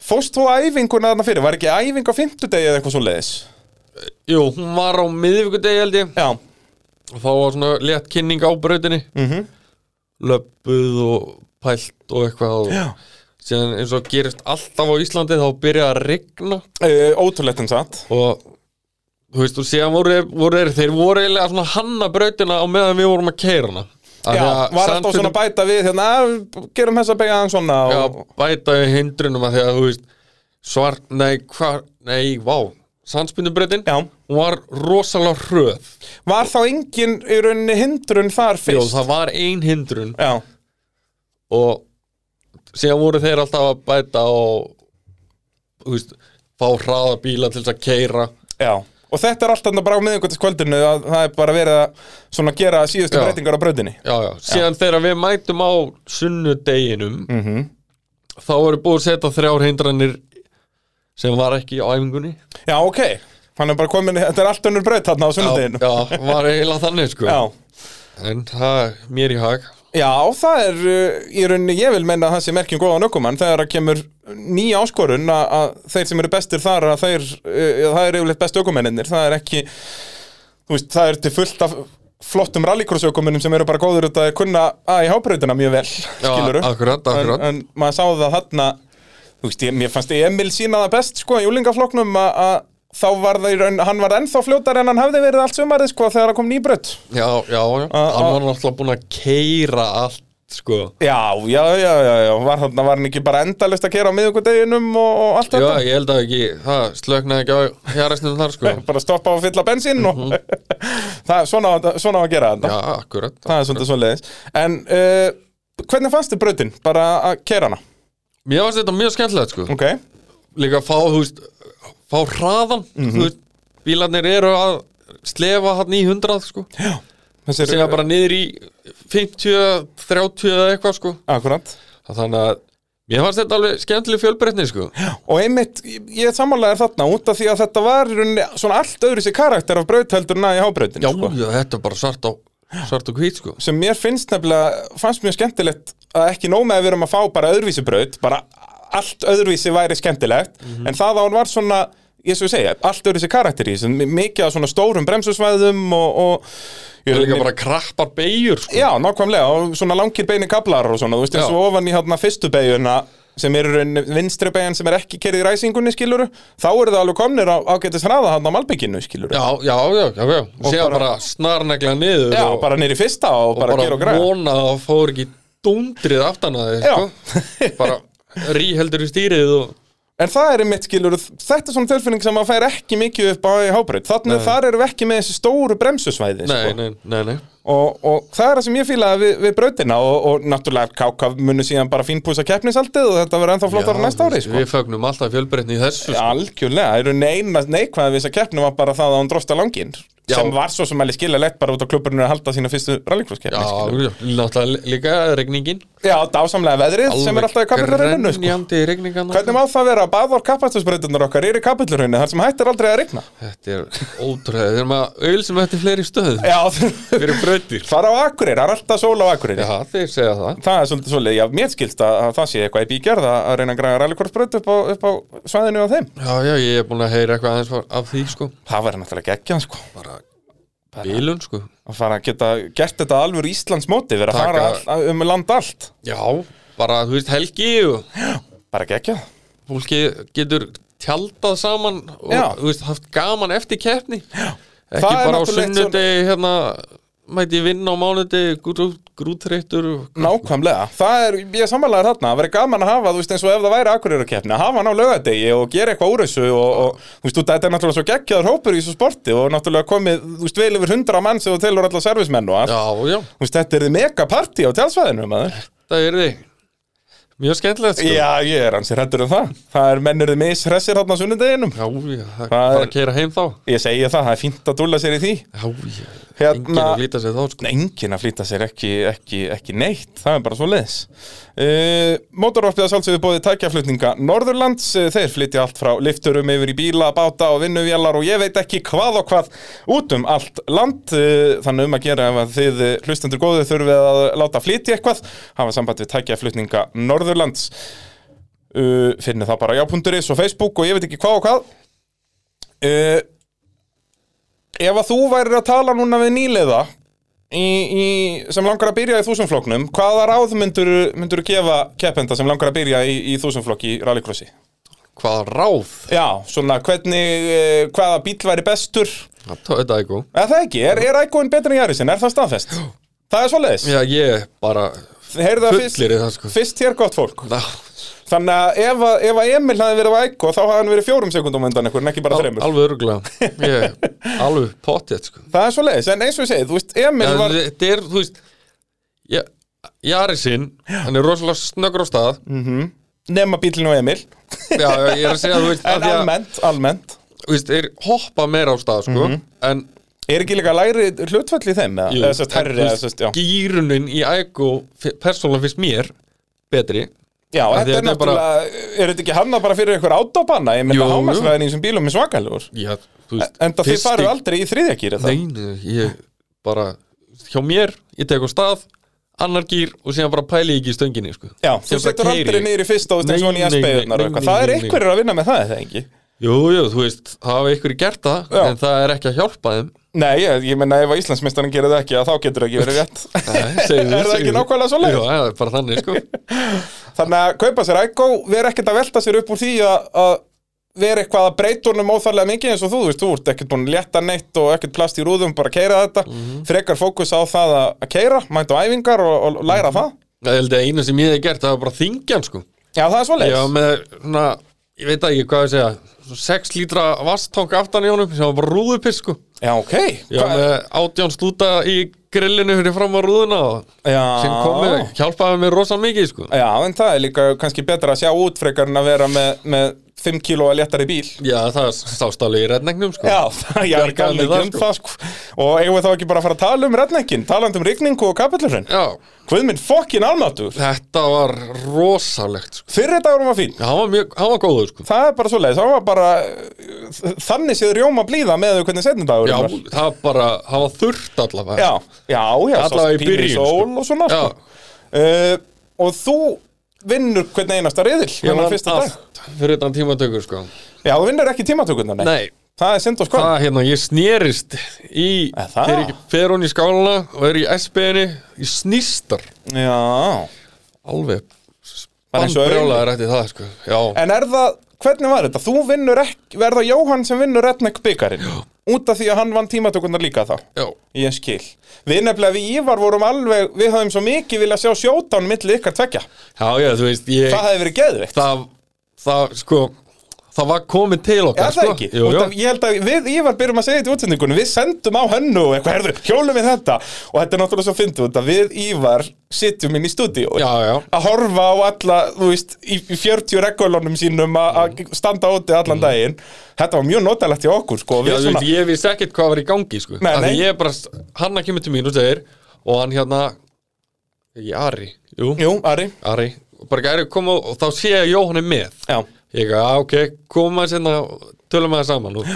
Fóst þú á æfinguna þarna fyrir? Var ekki æfing á fimmtudegi eða eitthvað svo leiðis? jú, hún var á miðvikudegi held ég Já, og þá var svona létt kynning á brautinni mm Mhm. -hmm. löppuð og pælt og eitthvað og Já. síðan eins og gerist alltaf á Íslandi þá byrjaði að rigna uh, ótrúlegt en satt og þú veist og síðan voru, voru þeir, þeir voru eiginlega svona hanna brautina á meðan við vorum að keira hana Af Já, því að var alltaf samtökum- svona að bæta við hérna, "Ah, gerum þessa beigja aðeins svona Já, og, bæta í hindrunum að því að þú veist svart, nei, hvar, nei, vá sandspindubrautin, Já. hún var rosalega hröð Var þá engin í rauninni hindrun þar Jó, fyrst? það var ein hindrun Já, og síðan voru þeir alltaf að bæta og þú veist, fá hraða bíla til þess að keira já Og og þetta er allt þarna bara á miðugvöldiskvöldinu að það er bara verið að svona gera síðustu Já. breytingar á brautinni já, já. síðan þegar við mætum á sunnudeginum Mhm. þá eru búið að setja þrjár hindranir sem var ekki á æfingunni Já, ok, hann er bara komin, þetta er allt önnur braut þarna á sunnudeginu já, var eiginlega þannig sko Já. en það er mér í hag Já, það er uh, í rauninni, ég vil menna að það sé merkjum góðan ökumann þegar að kemur nýja áskorun að, að þeir sem eru bestir þar að þeir, uh, það er yfirleitt best ökumennir það er ekki, þú veist, það er til fullt af flottum rallycross ökumennum sem eru bara góður út að kunna að í hábrautina mjög vel, skiluru akkurat, akkurat. En, en maður sá það þarna þú veist, ég, mér fannst Emil sína það best sko, í úlingaflokknum að að þá var það í raun, hann var ennþá fljótar en hann hafði verið allt sumarið sko þegar það kom nýbrödd já, já, já, A- hann a- var náttúrulega búin að keira allt sko Já, já, já, já, já, var þarna var hann ekki bara endalist að kera á miðugudeginum og, og allt já, þetta ég held að ekki, það slöknaði ekki á hérastinu þar sko Bara stoppa og fylla bensín og það, svona, á þetta- svona á að gera þetta Mhm. já, akkurat Það er svolítið svoleiðis En uh, hvernig fannst þið brautin bara að kera hana? mér varst þetta mjög skemmtilegt sko Ok, líka fá, þú veist, fá hraðan Mhm. þú veist, bílarnir eru að slefa hann í 100 sko þessi segja bara niður í 50, 30 eða eitthvað sko Akkurat þannig að mér fannst þetta alveg skemmtileg fjölbreytni sko Og einmitt, ég, ég samanlega er þarna út af því að þetta var í rauninni svona allt öðru sér karakter af braut heldur en að í hábrautin já, sko. já, þetta er bara svart á svart og hvít sko sem mér finnst nefnilega, fannst mjög skemmtilegt að ekki nóg með að við erum að fá bara öðruvísi braut, bara allt öðruvísi væri skemmtilegt, Mhm. en það að hún var svona ég svo segja, allt öðruvísi karakter í þessu, m- mikið af svona stórum bremsusvæðum og, og það er líka bara krappar beigur sko já, nákvæmlega, og svona langir beini kablar og svona, þú veist, eins og ofan í hérna fyrstu beiguna sem eru en vinstri beigin sem er ekki kerið í ræsingunni, skiluru þá eru það alveg komnir á, ágætis hraða hann á Malbygginu, skiluru, já, já, já, já, já. segja bara, bara snarnegla niður og, bara niður í fyrsta og, bara, gera og græða vona að það fór ekki dundrið aftan að þið sko bara ríheldur í stýrið og En það er einmitt skilur, þetta er svona tilfinning sem maður fær ekki mikið upp á í hábreyt. Þannig að þar erum við ekki með þessi stóru bremsusvæði, nei, sko. nei, nei, nei Og, og það er það sem ég fílaði við, við brautina og, og náttúrulega KK munu síðan bara fínpúsa keppnisaldið og þetta verður ennþá flottar Já, næsta ári, við- sko. Við fögnum alltaf fjölbreytni í þessu sko. Algjörlega, það eru neina neikvæða við þess að keppni var bara það að hún drósta langinn. Já. Sem var svo sem alveg skilja lett bara út á klubburinu að halda sína fyrstu Já, rallycross-keppni, skilur. já, náttúrulega líka regningin Já, dásamlega veðrið sem er alltaf í kapillurinu, sko. Grennjandi regningan Hvernig má það vera að baðor kapastusbreytunar okkar eru í kapillurinu þar sem hættir aldrei að rigna? Þetta er ótrúlega, þeir eru maður auðl sem þetta er fleiri stöð Já, Fyrir brautir fara á Akureyri, það er alltaf sól á Akureyri Já, þeir segja það Það er svolítið svolítið, já, mér skilst að, að það sé eitthvað í bígerð að að reyna að græða rallikorsbröð upp, á- upp á svæðinu á þeim Já, já, ég er búin að heyra eitthvað aðeins frá- af því sko Það væri náttúrulega geggjað, sko Bara bílun sko að fara að geta gert þetta að alvöru Íslands móti vera að Taka- fara all, að- um land allt Já, bara þú veist helgi og bara geggjað fólki getur tjaldað saman og Já. þú veist, haft gaman eftir keppni já. ekki Það er bara á náttúrulega eitt sunnudegi hérna, mæti ég vinna á mánudegi grú- grútreittur og Nákvæmlega, það er, ég er samanlegaður þarna það væri gaman að hafa, þú veist, eins og ef það væri akureyrakeppni að hafa hann á laugadegi og gera eitthvað úr þessu og, og þú veist, þetta er náttúrulega svo geggjaður hópur í þessu sporti og náttúrulega komið, þú veist, vel yfir hundra mann sem þú telur alla servismenn og allt Já, já, Þú veist, þetta er mega partí á tjálsvæðinu, maður það er þig Mjög skemmtilegt sko Já, ég er hansi hrættur um það Það er mennurðið mishressir hann á sunnudeginum Já, já, það er Það bara er- að keira heim þá Ég segi það, það er fínt að dúlla sér í því Já, já, Hérna- enginn að líta sér þá sko Nei, Enginn að flýta sér ekki, ekki, ekki neitt Það er bara svo leiðis uh, Mótorvarpið að sjálfsögðu bóði tækjaflutninga Norðurlands, eh, þeir flytja allt frá lifturum yfir í bíla, báta og vinnuvélar og ég veit ekki hvað og hvað út um allt land Eh, Þannig um að gera ef að þið eh, hlustendur góðu þurfið að láta flytja eitthvað hafa samband við tækjaflutninga Norðurlands uh, finnir það bara á já.is og Facebook og ég veit ekki hvað og hvað uh, Ef að þú værir að tala núna við nýliða í, í, sem langar að byrja í þúsumflokknum hvaða ráð myndur, myndur gefa keppenda sem langar að byrja í, í þúsumflokk í rallycrossi? Hvaða ráð Já, svona hvernig, uh, hvaða bíl væri bestur Það tóði þetta ekki eða það ekki, er, er Ægóin betri en Jarisin, er það staðfest? Það er svoleiðis, Já, ég bara heyrðu það fyrst, fullir í það sko fyrst hér gott fólk Það Þannig að ef, að- ef að Emil hafði verið á Ægó þá hafði hann verið fjórum sekundum undan ykkur en ekki bara þreymur Alveg örgulega Ég, alveg pottið sko Það er svo leiðis, en eins og ég segi, þú veist, Emil Já, var Þetta er, þú veist ég- Jarisinn, hann er rosalega snöggur á stað Mm. nema bílinn og Emil Já, já, ég er að segja, þú veist af En því að- almennt, almennt veist, þeir hoppa meira á stað sko, Mhm. en Er ekki líka læri hlutfall í þeim? Jú, eða sérst herri, eða sérst, já gýrunin í ægó persónulega finnst mér betri Já, Af því þetta er þetta er bara- náttúrulega, er þetta ekki hanna bara fyrir einhver átópanna? Ég Jú, myndi jú. að hámarsvæðin í þessum bílum er svakalur Já, þú veist, En það þið fyrsti- farið aldrei í þriðjakýri það Nei, nei, ég bara hjá mér, ég tek á stað annar gýr og síðan bara pæli ég ekki í stönginni sko. Já, þú Síðan bara setur keyri aldrei ég. niður í fyrsta og Nei, svona í nei, nei, S-beigurnar og nei, eitthvað nei, Það er nei, nei. einhverjir að vinna með það, er það ekki? Jú, jú, þú veist, hafa ykkur gert það Já. en það er ekki að hjálpa þeim Nei, ég, ég menna ef að Íslandsmeistarinn gerir það ekki að þá getur það ekki verið rétt Nei, Er segðu, það segðu. ekki nákvæmlega svoleiðis? Jú, það er bara þannig, sko Þannig að kaupa sér Ægó, vera ekkert að velta sér upp úr því að, að vera eitthvað að breyta honum óþarlega mikið eins og þú, þú veist, þú ert ekkert búin að létta neitt og ekkert plast í rúðum, bara keira þetta Mhm. frekar fókus á það að, að keira mæta á æfingar og, og Mhm. læra það Ég held að eina sem ég hef gert, það var bara þingjan, sko Já, það er Ég svoleiðis var með, svona, ég veit ekki hvað ég segja svona 6 lítra vasttank aftan í honum sem var bara rúðupiss, sko Já, ok Ég var með átján slúta í grillinu fyrir fram á rúðuna og sem komið, Já, hjálpaði mér rosa mikið, sko Já, en það er líka kannski betra að sjá út frekar en að vera með, með 5 kilo að léttari bíl Já, það sást alveg í rednegnum, sko Já, það ég er ekki Bjargaði alveg það, um það sko. og eigum við þá ekki bara að fara að tala um rednekkin talandi um rigningu og kapillurinn Já, Hvað minn fokkin almatur þetta var rosalegt sko. Fyrri dagurum var fín Já, Hann var, mjög, hann var góður sko. Það er bara svo leiðis, það var bara uh, þannig séð rjóma blíða með þau hvernig setjum dagur Já, það var bara, hann var þurrt allavega já, já, já Allavega sást í pínu byrjun, sól sko. og svona Já. sko. uh, Og þú vinnur hvern einasta riðil Ég þennan var fyrsta dag allt fyrir utan tímatökur sko. Já, þú vinnur ekki tímatökurnar, nei. Nei, Það er synd og skoð það hérna, ég snerist í, Eh, það? þegar ég fer hún í skáluna og er í SBN-i, ég snýstar Já, alveg Bara eins og Bannbrjólaður eftir það sko. Já, En er það, hvernig var þetta? Þú vinnur ekki, verða Jóhann sem vinnur Redneck byggarinn Út af því að hann vann tímatökurnar líka þá já, Ég skil Við nefnilega við Ívar vorum alveg, við höfum svo mikið vilja sjá sjótán milli ykkar tvekja já, já, þú veist ég, Það hefði verið geðveikt það, það, sko það var komið til Er okkar það sko. ekki? Jú, Út jú. af, ég held að við Ívar byrjum að segja þetta í útsendingunum Við sendum á hönnu og eitthvað, herðu, hjólum við þetta Og þetta er náttúrulega svo fyndið út að við Ívar sitjum inn í stúdíó Já, já. Að horfa á alla, þú veist, í í 40 reggólunum sínum að- að Mm. standa úti allan daginn Þetta var mjög notalegt í okkur, sko og Já, við þú veit, svona, ég vissi ekkert hvað var í gangi sko. Nei, Af því nei. ég er bara, Hanna kemur til mín og segir og hann hérna ekki Ari, jú, Jú, Ari, Ari og bara ekki Ari koma og þá sé ég að Jóhann er með já, ég ekki, já, ok, koma sérna og tölum að það saman og,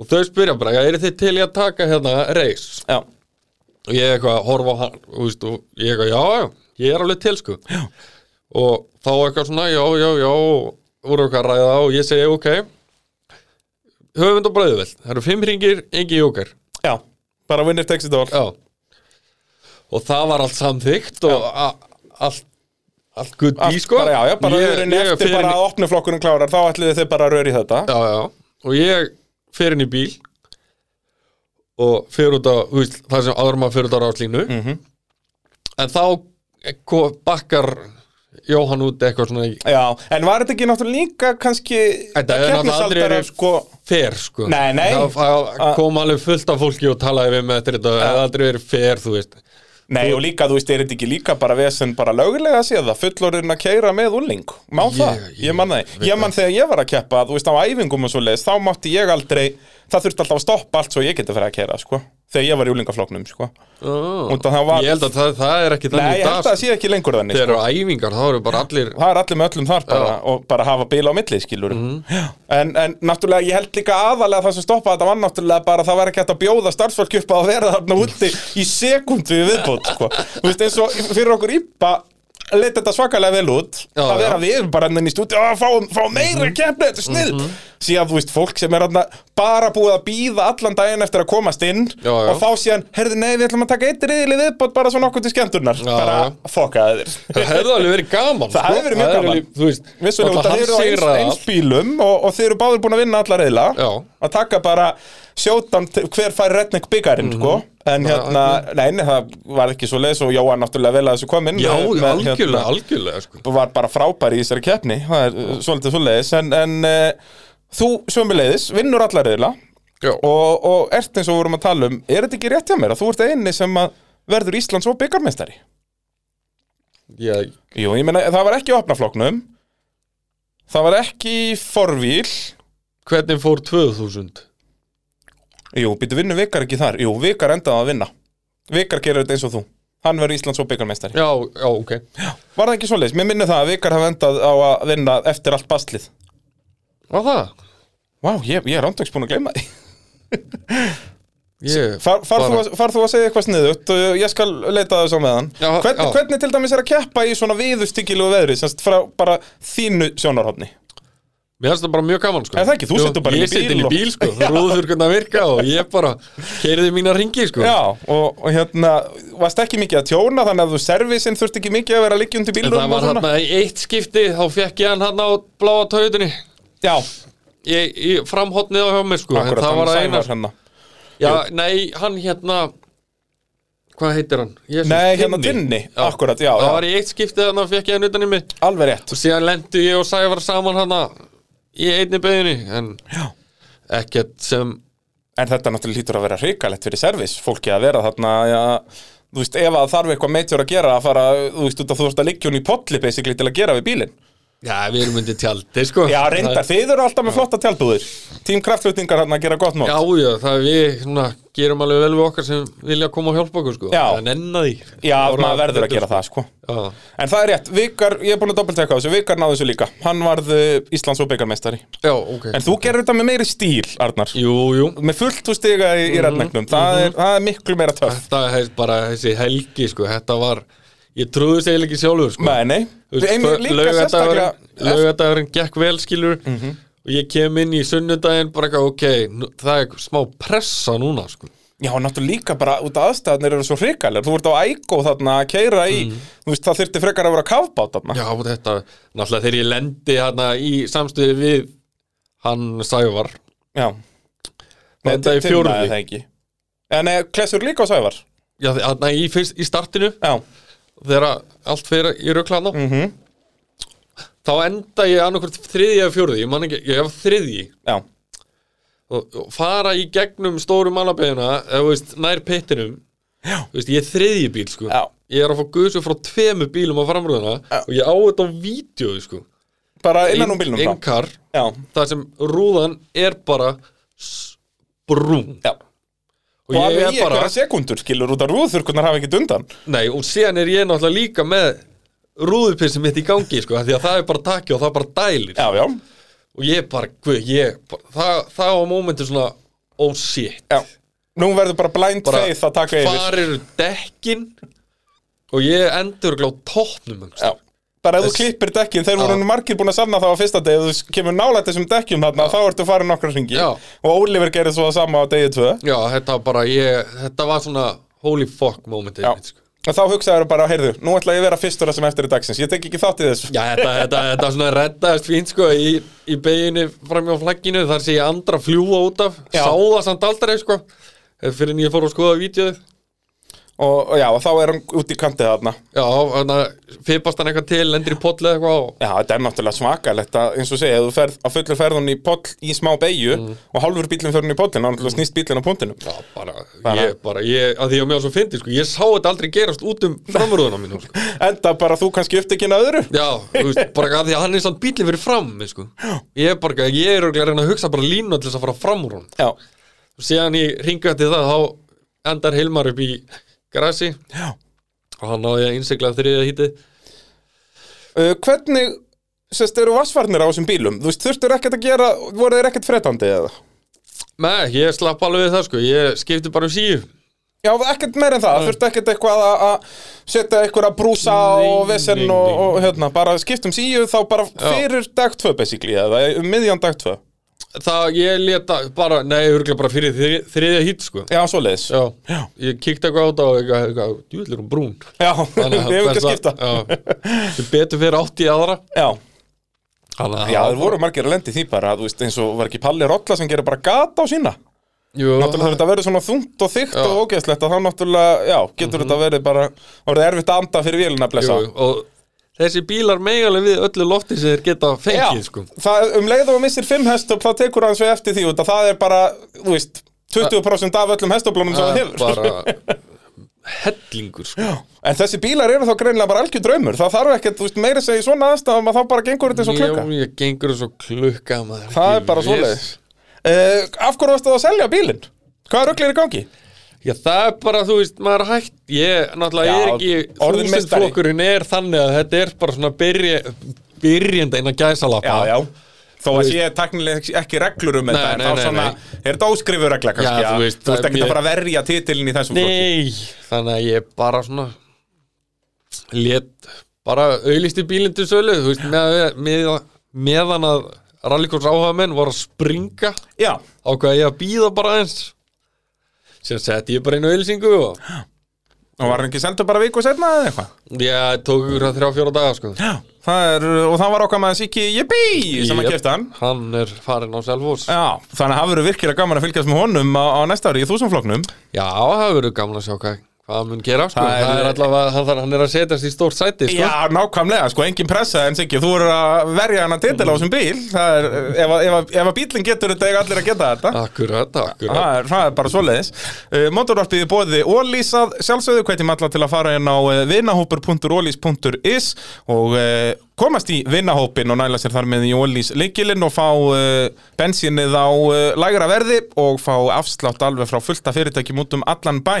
og þau spyrja bara, er þið til í að taka hérna reis já og ég eitthvað að horfa á hann og, veist, og ég eitthvað, já, já, ég er alveg til sko. og þá eitthvað svona já, já, já, og voru eitthvað að ræða og ég segi, ok höfund og bræðuvel, það eru fimm ringir engi jókar, Já, bara winner takes it all já og það var allt samþykkt og a- allt allt gutt í sko bara, já, já, bara Ég- ég, ég eftir fer bara inn í- að opnu flokkunum klárar þá ætliði þið bara að röra í þetta já, já, og ég fer inn í bíl og fer út á þú veist, það sem áður maður fer út á ráslínu Mhm. en þá ko- bakkar Jóhann út eitthvað svona í- Já, en var þetta ekki náttúrulega líka kannski Þetta er náttúrulega aldrei keppnisaldarar, eru- fer sko Nei, nei. það það kom alveg fullt af fólki og talaði við með þetta þetta hefði aldrei verið fer þú veist Nei, og líka, þú veist, er þetta ekki líka bara vesen bara lögulega að sé það, fullorinn að keira með úling, má Ég- það, ég ég man það veit ég man þegar ég var að keppa, þú veist, á æfingum og svo leiðis, þá mátti ég aldrei það þurfti alltaf að stoppa allt svo ég geti fyrir að keira, sko þegar ég var í úlingafloknum, sko oh. Út að það var- ég held að það, það er ekki Nei, þannig ég held í dag sko. að það sé ekki lengur þannig, sko. þegar eru æfingar þá eru bara allir það er allir með öllum þar bara, og bara hafa bíla á milli skilur Mhm. en, en náttúrulega ég held líka aðalega það sem stoppaði þetta var náttúrulega bara það var ekki hægt að bjóða starfsfólk upp á að vera þarna úti í sekundu í viðbót sko. þú veist eins og fyrir okkur íbba leit þetta svakalega vel út Já, að vera já. Mhm. við bara enn í stúdíu að fá, fá meira keppni, þetta er snill síðan þú veist fólk sem er þarna bara búið að býða allan daginn eftir að komast inn Já, já. og þá síðan, herðu nei við ætlum að taka eitt riðil í viðbót bara svona okkur til skemmturnar Já, bara já. fokkaði þér það hefði alveg verið gaman Það sko. hefði verið mjög er gaman. alveg- þú veist Vissulega út náttúrulega að þeir hann eru á eins, sigraði eins allt. bílum og, og þeir eru báður búin að vinna alla reyðla Já. að taka bara sjóttan til- hver fær redneck byggarinn sko. Mhm. en hérna, nei, nei, það var ekki svo leiðis og Jóhann náttúrulega vel að þessu komin já, með- með, algjörlega, algjörlega sko. hérna var bara frábær í þessari keppni það er uh, svolítið svo leiðis en, en uh, þú sömuleiðis, vinnur alla reyðla Já. og, og ert eins og við vorum að tala um er þetta ekki rétt hjá mér að þú ert eini sem að verður Íslands og byggarmeistari Ég, Jú, ég meina, það var ekki í opnafloknum Það var ekki í forvíl hvernig fór 2000 Jú, býtu vinnum Vikar ekki þar Jú, Vikar endaði að vinna Vikar gerir þetta eins og þú Hann verður Íslands og byggarmeistari já, já, ok Var það ekki svoleiðis? Mér minnir það að Vikar hafa endað á að vinna eftir allt baslið var það? Vá, ég, ég er ándvegs búin að gleyma því Ég, Far, far, þú bara- að, far þú að segja eitthvað sniðut og ég skal leita þessu á meðan Já, Hvern, já. Hvernig til dæmis er að keppa í svona viðustykilugu veðri semst frá bara þínu sjónarhófni Mér finnst það bara mjög gaman sko Er það ekki? Þú Jú, situr bara inn í bíl Ég situr inn í og- bíl sko, rúðurkurna virka og ég bara keiriði mína ringi sko Já, og, og hérna varst ekki mikið að tjóna þannig að þú servisinn þurft ekki mikið að vera liggjum til En bílum það og var svona. hérna í eitt skipti þá fekk ég hann hérna á bláa tautunni Já, Ég, ég framhotnið á hjá mér sko En akkurat, það var að hann eina sævar hérna Já, nei, hann hérna Hvað heitir hann? Jesus, Nei, hérna Tinni, akkurat, já, Það já var í eitt skipti þannig að fekk ég hann utan í mig alveg rétt Og síðan lendi ég og Sævar saman hann í einni beginni En Já. ekkert sem En þetta náttúrulega lítur að vera hrikalegt fyrir servis fólki að vera þarna já, þú veist, ef að þarf eitthvað meitjur að gera að fara, þú veist, út að þú veist að liggjum í potli basically til að gera við bílinn Já, við erum undir tjaldi sko Já, reyndar, þið eru alltaf með flotta tjálpúður Tím kraftflutningar hann að gera gott mál Já, já, það er við svona, gerum alveg vel við okkar sem vilja koma og hjálpa okkur sko Já. En enna því Já, maður verður að gera það, sko Já, En það er rétt, Vikar, ég er búin að doppeltekka þessu Vikar náðu þessu líka, hann varð uh, Íslands og byggarmeistari já ok En þú gerir þetta með meiri stíl, Arnar Jú, jú Með fullt úr stiga í, í rednegnum það, er, það er miklu meira töff Þetta er bara þessi helgi sko Þetta var, ég trúði þess eiginlega ekki sjálfur sko Nei, nei, einmitt líka sérstaklega Mhm. Laugadagurinn Laugadagurinn gekk vel skilur Og ég kem inn í sunnudaginn bara eitthvað ok nú, Það er smá pressa núna sko Já, náttúrulega líka bara út af aðstæðanir eru svo hrikalir Þú ert á ægó þarna að keira í Þú veist, það þyrfti frekar að vera kafbát þarna Mm. Já, þetta, náttúrulega þegar ég lendi hana í samstöðu við hann Sævar Já Nei, þetta er Tinna fjórði. er það ekki En eh, Klessur líka á Sævar Já, þarna í, fyrst, í startinu Já, þegar allt fyrir í röklaðna mm -hmm. Mhm. þá enda ég annarkvort þriðji eða fjórði, ég man ekki, ég hef þriðji já, og, og fara í gegnum stóru mannabeðina eða þú veist, nær pittinum Já. Þú veist, ég er þriðji bíl sko Já. ég er að fá guðsum frá tvemu bílum á framröðuna Já. og ég á þetta á vídeo sko. bara innan úr bílnum Ein- þá. einkar, Já, það sem rúðan er bara s- brún já og, Og ég alveg er í bara einhverja sekundur skilur út af rúðþurkunar hafa ekkert undan Nei, og síðan er ég náttúrulega líka með rúðupissi mitt í gangi, sko, af því að það er bara takki og það bara dælir. Já, já, Og ég bara, guð, ég, bara, það, það var mómentu svona, oh shit. já Nú verður bara blind Bara, faith að taka yfir Hvar eru dekkin og ég endur glá tóknum, Já Bara ef þú Þess- klippir dekkin, þeir voru Já. nú margir búin að sanna það á fyrsta degi, ef þú kemur nálægt þessum dekkjum þarna, þá ertu farin nokkra hringi Já. og Oliver gerir svo það sama á degi tvö Já, þetta var bara, ég, þetta var svona holy fuck mómentið, Já. mitt, sko. og þá hugsaður bara, heyrðu, nú ætla ég að vera fyrstur það sem eftir í dagsins, ég tek ekki þátt í þessu Já, þetta, þetta, þetta svona reddaðist fínt sko í, í beginni fram hjá flagginu þar sé ég andra fljúa út af Já. sá það samt aldrei sko fyrir en ég fór að skoða vídeoð og, og já, og þá er hann út í kantið þarna Já, þannig að fipast hann eitthvað til, lendir í potli eða eitthvað og Já, þetta er náttúrulega svakalegt að, eins og segja, ef þú ferð á fullur ferðun í poll í smá beigju og hálfur bílinn fyrir hún í pollin, þá náttúrulega snýst bílinn á puntinum. Já, bara, Bara- ég bara, ég, að því ég á mjög svo fyndi, sko, ég sá þetta aldrei gerast út um framrúðuna mínu, sko. Enda bara þú kannski upptekinn að öðru. Já, þú veist, bara að því að hann er samt bílinn fyrir fram, mig, sko. Ég er bara, ég er örugglega að reyna að hugsa bara línu til þess að fara fram úr hún. Já, Og síðan ég ringa til það, þá endar Hilmar upp í grasi já. og hann náði að innsigla þriðja hítið. Uh, hvernig, sérst, eru vassvarnir á þessum bílum? Þú veist, þurftur ekkert að gera, voru þeir ekkert fretandi eða? Nei, ég slapp alveg við það, sko, ég skipti bara um síu. Já, ekkert meir en það, þurftu ekkert eitthvað að- að setja eitthvað að brúsa Nei, og vesen nei, og, nei. og hérna, bara skiptum síu þá bara fyrir dag 2 basically, eða um miðjan dag 2. Það, ég leta bara, nei, örgulega bara fyrir þri- þriðja hít, sko. Já, svoleiðis. Já, Já. ég kíkti eitthvað á þetta og eitthvað, eitthvað, djúðlir hún brún Já, við hefum ekki að þess skipta. já, Sem betur fyrir átt í aðra Já. Hanna, Já, það voru margir að lendi því bara, þú veist, eins og var ekki Palli Rolla sem gerir bara gata á sína jú, Náttúrulega þarf þetta að vera svona þungt og þykkt og ógeðslegt að þá náttúrulega, já, getur þetta verið bara orðið erfitt að anda fyrir vélina að blessa Mhm. jú, Og þessi bílar megalega við öllu lofti sem þeir geta Já, fengið sko. það, um leið og þú missir fimm hestöfl þá tekur hann svo eftir Eh, því út að það er bara, þú veist, 20% af öllum hestöflunum sem það hefur Bara hellingur sko. En þessi bílar eru þá greinlega bara algjör draumur Það þarf ekkert, þú veist, meira að segja í svona aðstæðum að þá bara gengur þetta eins og klukka Já, ég gengur eins og klukka maður, Það er Ég bara viss. svoleiðis uh, Af hverju varstu þá að selja bílinn? Hvað rugl er í gangi? Já, það er bara, þú veist, maður er hægt Ég, náttúrulega, Já, ég er ekki orðin meistari. Þúsundflokkurinn er þannig að þetta er bara svona byrja, byrjenda innan gæsalappa Þó að sé teknilega ekki reglur um þetta Nei, en nei, þá nei, svona, er þetta óskrifu regla kannski Já, að- þú veist, Þú veist það- ekki að ég- fara að verja titilin í þessum flokki Nei, þannig að ég bara svona Lét bara auðlisti bílinn til sölu Þú veist, með, með, meðan að Rallikurs áhagamenn voru að springa Já, Ákvað ég að býða bara aðeins Sér setti ég bara inn auðlisingu og og var hann ekki seldur bara viku setna eða eitthvað ég tók ykkur að þrjá fjóra daga, sko Já, það er, og það var okkar maður Siki Jibbi sem að Jep, kefta hann Hann er farinn á Selfoss Já, þannig að það verður virkilega gaman að fylgjast með honum á, á næsta ári í þúsumfloknum Já, það verður gaman að sjá hvað, hvað hann mun gera sko. Það er- það, er allavega, hann, þarf- hann er að setjast í stórt sæti sko. Já, nákvæmlega, sko, engin pressa en Siggi, þú eru að verja hann að titil á þessum bíl það er, ef, að- ef, að- ef að bílinn getur þetta eiga allir að geta þetta Akkurat, akkurat Það er, það er bara svoleiðis uh, Mótorvarpið í bóði Ólís að sjálfsögðu hvetjum alla til að fara inn á uh, vinahópur.ólís.is og uh, komast í vinahópin og næla sér þar með í Ólís leikilinn og fá uh, bensínið á uh, lægra verði og fá afslátt alveg frá fullta fyrirtækjum út um allan bæ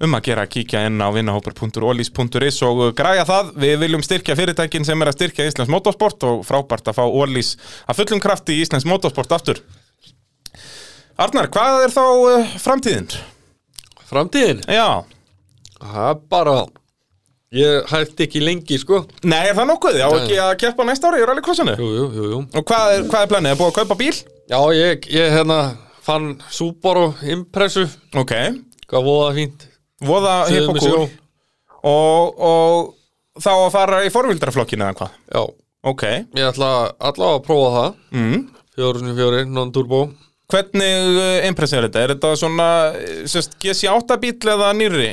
um að gera að kíkja inn á vinahópur.ólís.is og uh, græja það við viljum styrkja fyrirtækin sem er að styrkja Íslands motorsport og frábært að fá Ólís að fullum krafti í Íslands motorsport aftur Arnar, hvað er þá uh, framtíðin? Framtíðin, Já, það er bara Ég hætti ekki lengi sko. nei, er það nokkuð? Já, ekki að keppa næsta ári í rallycrossinu? Jú, jú, jú, jú Og hvað er, hvað er planið? Er búið að kaupa bíl? Já, ég, ég hérna fann Subaru Impressu Ok, Hvað voða fínt voða Suður hipp og með kúl sjó. og, og þá að fara í forvildarflokkinu eða hvað? Já, Ok, ég ætla allavega að prófa það mm. 404, non-turbo hvernig uh, impress er þetta? Er þetta svona eh, sérst, GC8 bíl eða nýrri?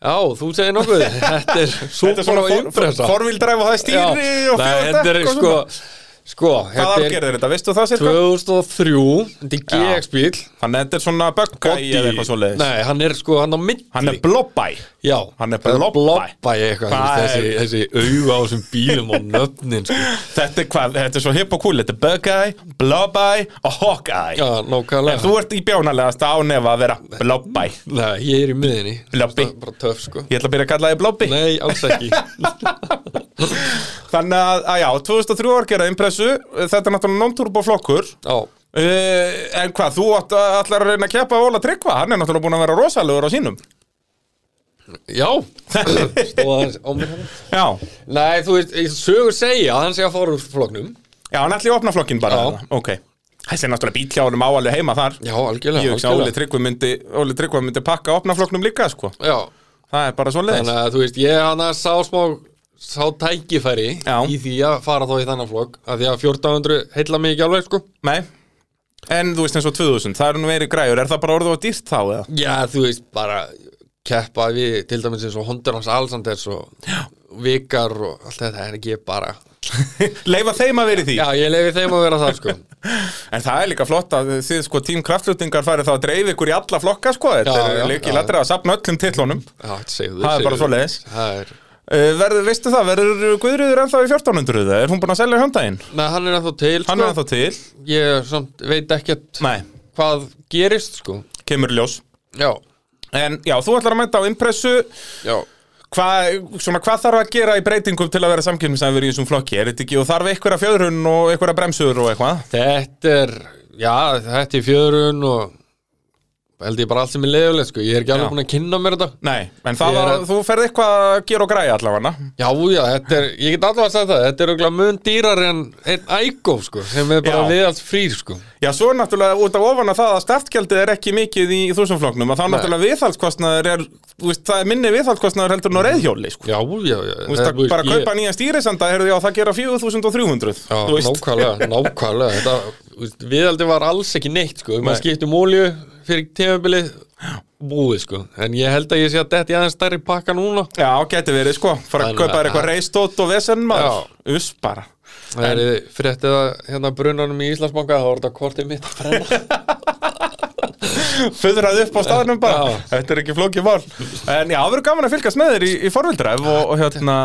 Já, þú segir nokkuð Þetta er Subaru Impressa forvildræf og það er Já, stýri og nei, fjögur þetta er dekk og sko svona Sko, Hvað þetta er árgerð er þetta? Veistu það sérka? 2003 Þetta er Já. GX-bíl Þannig að þetta er svona bögga í eða eitthvað svo Nei, hann er sko, hann á milli Hann er blobbæ Já, hann er það blobbæ. blobbæ eitthvað Hvað þú veist, er- Þessi, þessi auga á þessum bílum og nöfnin sko. Þetta er hvað, þetta er svo hipp og cool Þetta er Bug-Eye, Blob-Eye og Hawk-Eye Já, nákvæmlega Þú ert í bjónalegasta ánefa að vera Blob-Eye Nei, ég er í miðinni Blobbi. Það er Bara töff sko Ég ætla að byrja að kalla þig Blobby Nei, alls ekki Þannig að, að já, 2003 ár gera impressu Þetta er náttúrulega non-turbo flokkur Já, uh, En hvað, þú átt, ætlar að reyna að keppa Óla Tryggva, hann er náttúrulega búin að vera rosalegur á sínum já Stóð aðeins á mér hann Já, Nei, þú veist, ég sögur segja að hann sé að fara úr floknum já, hann ætli að opna flokkin bara Já. já. Ok, þessi er náttúrulega bíljáðunum áalveg heima þar Já, algjörlega, Ég hugsa að Óli algjörlega. Tryggva myndi, Óli Tryggva myndi pakka opna flokknum líka, sko Já, Það er bara svo Þannig að þú veist, ég hann að sá smá sá tækifæri Já. í því að fara þá í þannan flokk að því að 1400 heilla mig ekki alveg sko Nei En þú veist eins og 2000, það eru nú verið græjur Er það bara orðið á dýrt þá eða? Já, þú veist, bara keppa við til dæmis eins og Honduras Alsanders og Já. Vikar og allt þetta en ekki bara Leifa þeim að vera í því Já, ég lefi þeim að vera það sko En það er líka flott að þið sko tím kraftlutingar farið þá að dreif ykkur í alla flokka sko Þetta Já, er já, líki já. ladrið að sapna öllum titlunum uh, Já, segðu, Það er bara segðu. svoleiðis. Eh, Það er verður, Veistu það, verður Guðrýður ennþá í 1400 eða? Er hún búin að selja höndaginn? Nei, hann er ennþá til sko Hann er ennþá til Ég samt veit ekkert Nei, hvað gerist sko kemur í ljós Já, En já, þú ætlar að mæta á impressu já Hvað, svona, hvað þarf að gera í breytingum til að vera samkynnsæður í þessum flokki? Er þetta ekki, og þarf einhverja fjöðrun og einhverja bremsur og eitthvað? Þetta er, já, þetta er fjörun og held ég bara allt sem er leiðuleg, sko, ég er ekki Já. alveg búin að kynna mér þetta Nei, en það Ég er var, að- þú ferð eitthvað að gera og græja allavega Já, já, þetta er, ég get allavega að segja það, þetta er auðvitað mun dýrar en einn ægó, sko, sem er bara Já. viðallt frýr, sko Já, svo er náttúrulega út af ofan að það að startgjaldið er ekki mikið í þúsumfloknum að þá náttúrulega viðhaldskostnaður er, þú veist, það er minni viðhaldskostnaður heldur en á reyðhjóli, sko Já, Eh, já, já Þú veist, að bara kaupa nýja stýrisanda, heyrðu, já, það gera 4300 Já, þú veist. nákvæmlega, nákvæmlega þetta, þú veist, Viðaldi var alls ekki neitt, sko, Nei. maður skiptum ólíu fyrir tímabilið búið, sko En ég held að ég sé að þetta er aðeins stærri pakka núna Já, geti verið, sko, fara að Þannig kaupa þér að- eitthvað reistótt og vesen maður, uss bara Það er fréttið að hérna brunanum í Íslandsbanka, þá var þetta kortið mitt að brenna Föðrað upp á staðnum bara Já. Þetta er ekki flókið mál En já, það verður gaman að fylgast með þér í, í forvildræf og, og hérna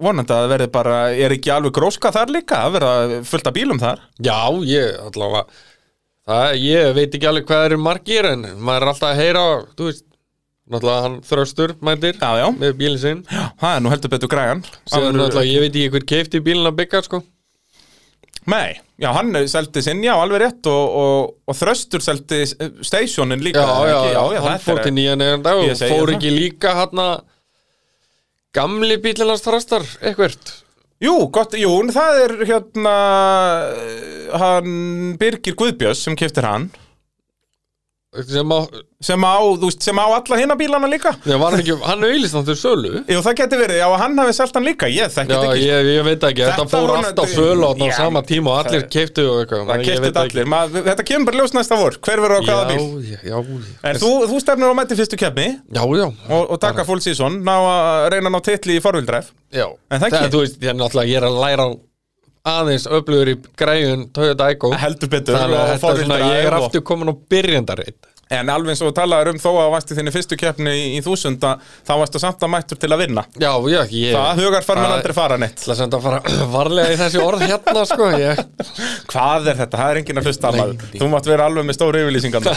vonandi að það verði bara, er ekki alveg gróska þar líka, það verða fullt af bílum þar Já, ég allavega það, ég veit ekki alveg hvað eru margir en maður er alltaf að heyra þú veist, náttúrulega hann þröstur mætir Já, já, með bílinn sinn það er nú heldur betur græjan sem náttúrulega ég veit ekki hver keifti bílinn að bygga sko Nei, já, hann seldi sinn, já, alveg rétt og, og, og Þröstur seldi stationin líka ekki? hann fór þetta til er nýjan eiganda Ég og segi fór það. ekki líka hann gamli bílinn hans þröstar eitthvert Jú, gott, jú, en það er hérna eh, hann Birgir Guðbjörns sem keftir hann sem að, sem á, þú veist, sem á alla hinna bílana líka ég var ekki, hann auðlist hann til sölu Jú, það geti verið, já, og hann hafi selt hann líka, ég þekki Já, þetta ekki sko. ég, ég veit ekki, þetta Þetta fór vonandi- allt á sölu á Já. sama tíma og allir keiftu og eitthvað Það ég kefti veit þetta ekki. allir, Maður, þetta kemur bara ljós næsta vor, hver verður á hvaða bíl Já, já, já, En þú, þú stefnir á mæti fyrstu kefni Já, já, og, og taka full season, ná að reyna að ná titli í forvildræf já. En það ekki? þú veist, ég er náttúrulega, ég er að læra á aðeins öflugur í græjun Toyota Aygo Heldur betur Þannig að og þetta er svona, ég er forvildræf og... aftur komin á byrjandarreit En alveg eins og þú talaðir um þó að vasti þinni fyrstu kefni í, í þúsunda Þá varstu samt að mættur til að vinna Já, já, ég Það hugar far mann Það- aldrei fara neitt ætla sem þetta að fara varlega í þessi orð hérna, sko ég. Hvað er þetta? Það er enginn að hlusta á maður Þú mátt vera alveg með stóru yfirlýsingarna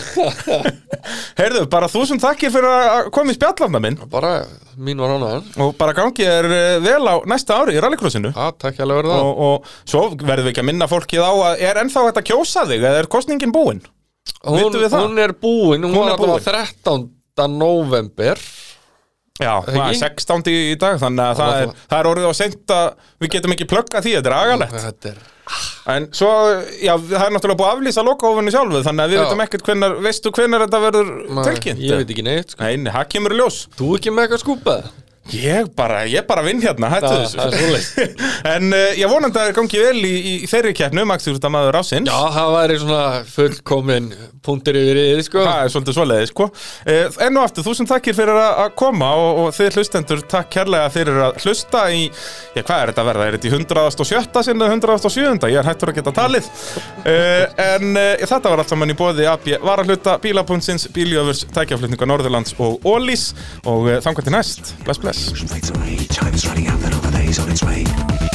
Heyrðu, bara þúsund þakkir fyrir að koma í spjallafna minn Bara, mín var hana en og bara gangi þér eh, vel á næsta ári í rallycrossinu Já, takk hérlega fyrir það og, og svo verðum við ekki að minna fólkið á að er ennþá hægt að kjósa þig eða er kostningin búin hún, vitum við það? hún er búin, hún, Hún var er alltaf 13. november Já, það er Ekki? 16. í í dag þannig að það var er, það er orðið á seint að við getum ekki plögga því, þetta er agalegt Þetta er en svo, já, það er náttúrulega búið að aflýsa lokahofinu sjálfu þannig að við Já. veitum ekkert hvenar, veistu hvenar þetta verður tilkynnt Ég veit ekki neitt, sko Nei, nei, það kemur í ljós Þú ekki með eitthvað skúpað? Ég bara, ég bara vinn hérna, hættu Það- þessu það er En uh, ég vonandi að það gangi vel í, í þeirri keppnu, Maxjúrstamaður ásins Já, það væri svona fullkomin punktur yfir í því, sko Það er svolítið svoleiði, sko. Eh, Enn og aftur, þúsund takkir fyrir að að koma og, og þið hlustendur, takk kærlega fyrir að hlusta í, já, hvað er þetta að verða? Er þetta í 107. sinna 107. Ég er hættur að geta talið. Eh, En eh, þetta var allt saman í bóði AB Varahluta, Bílapunnsins, Bíljöfurs, Tækjaflutninga Norðurlands og Ólís og eh, þangað til næst. Bless, bless. Fades away, time is running out, another day's on its way.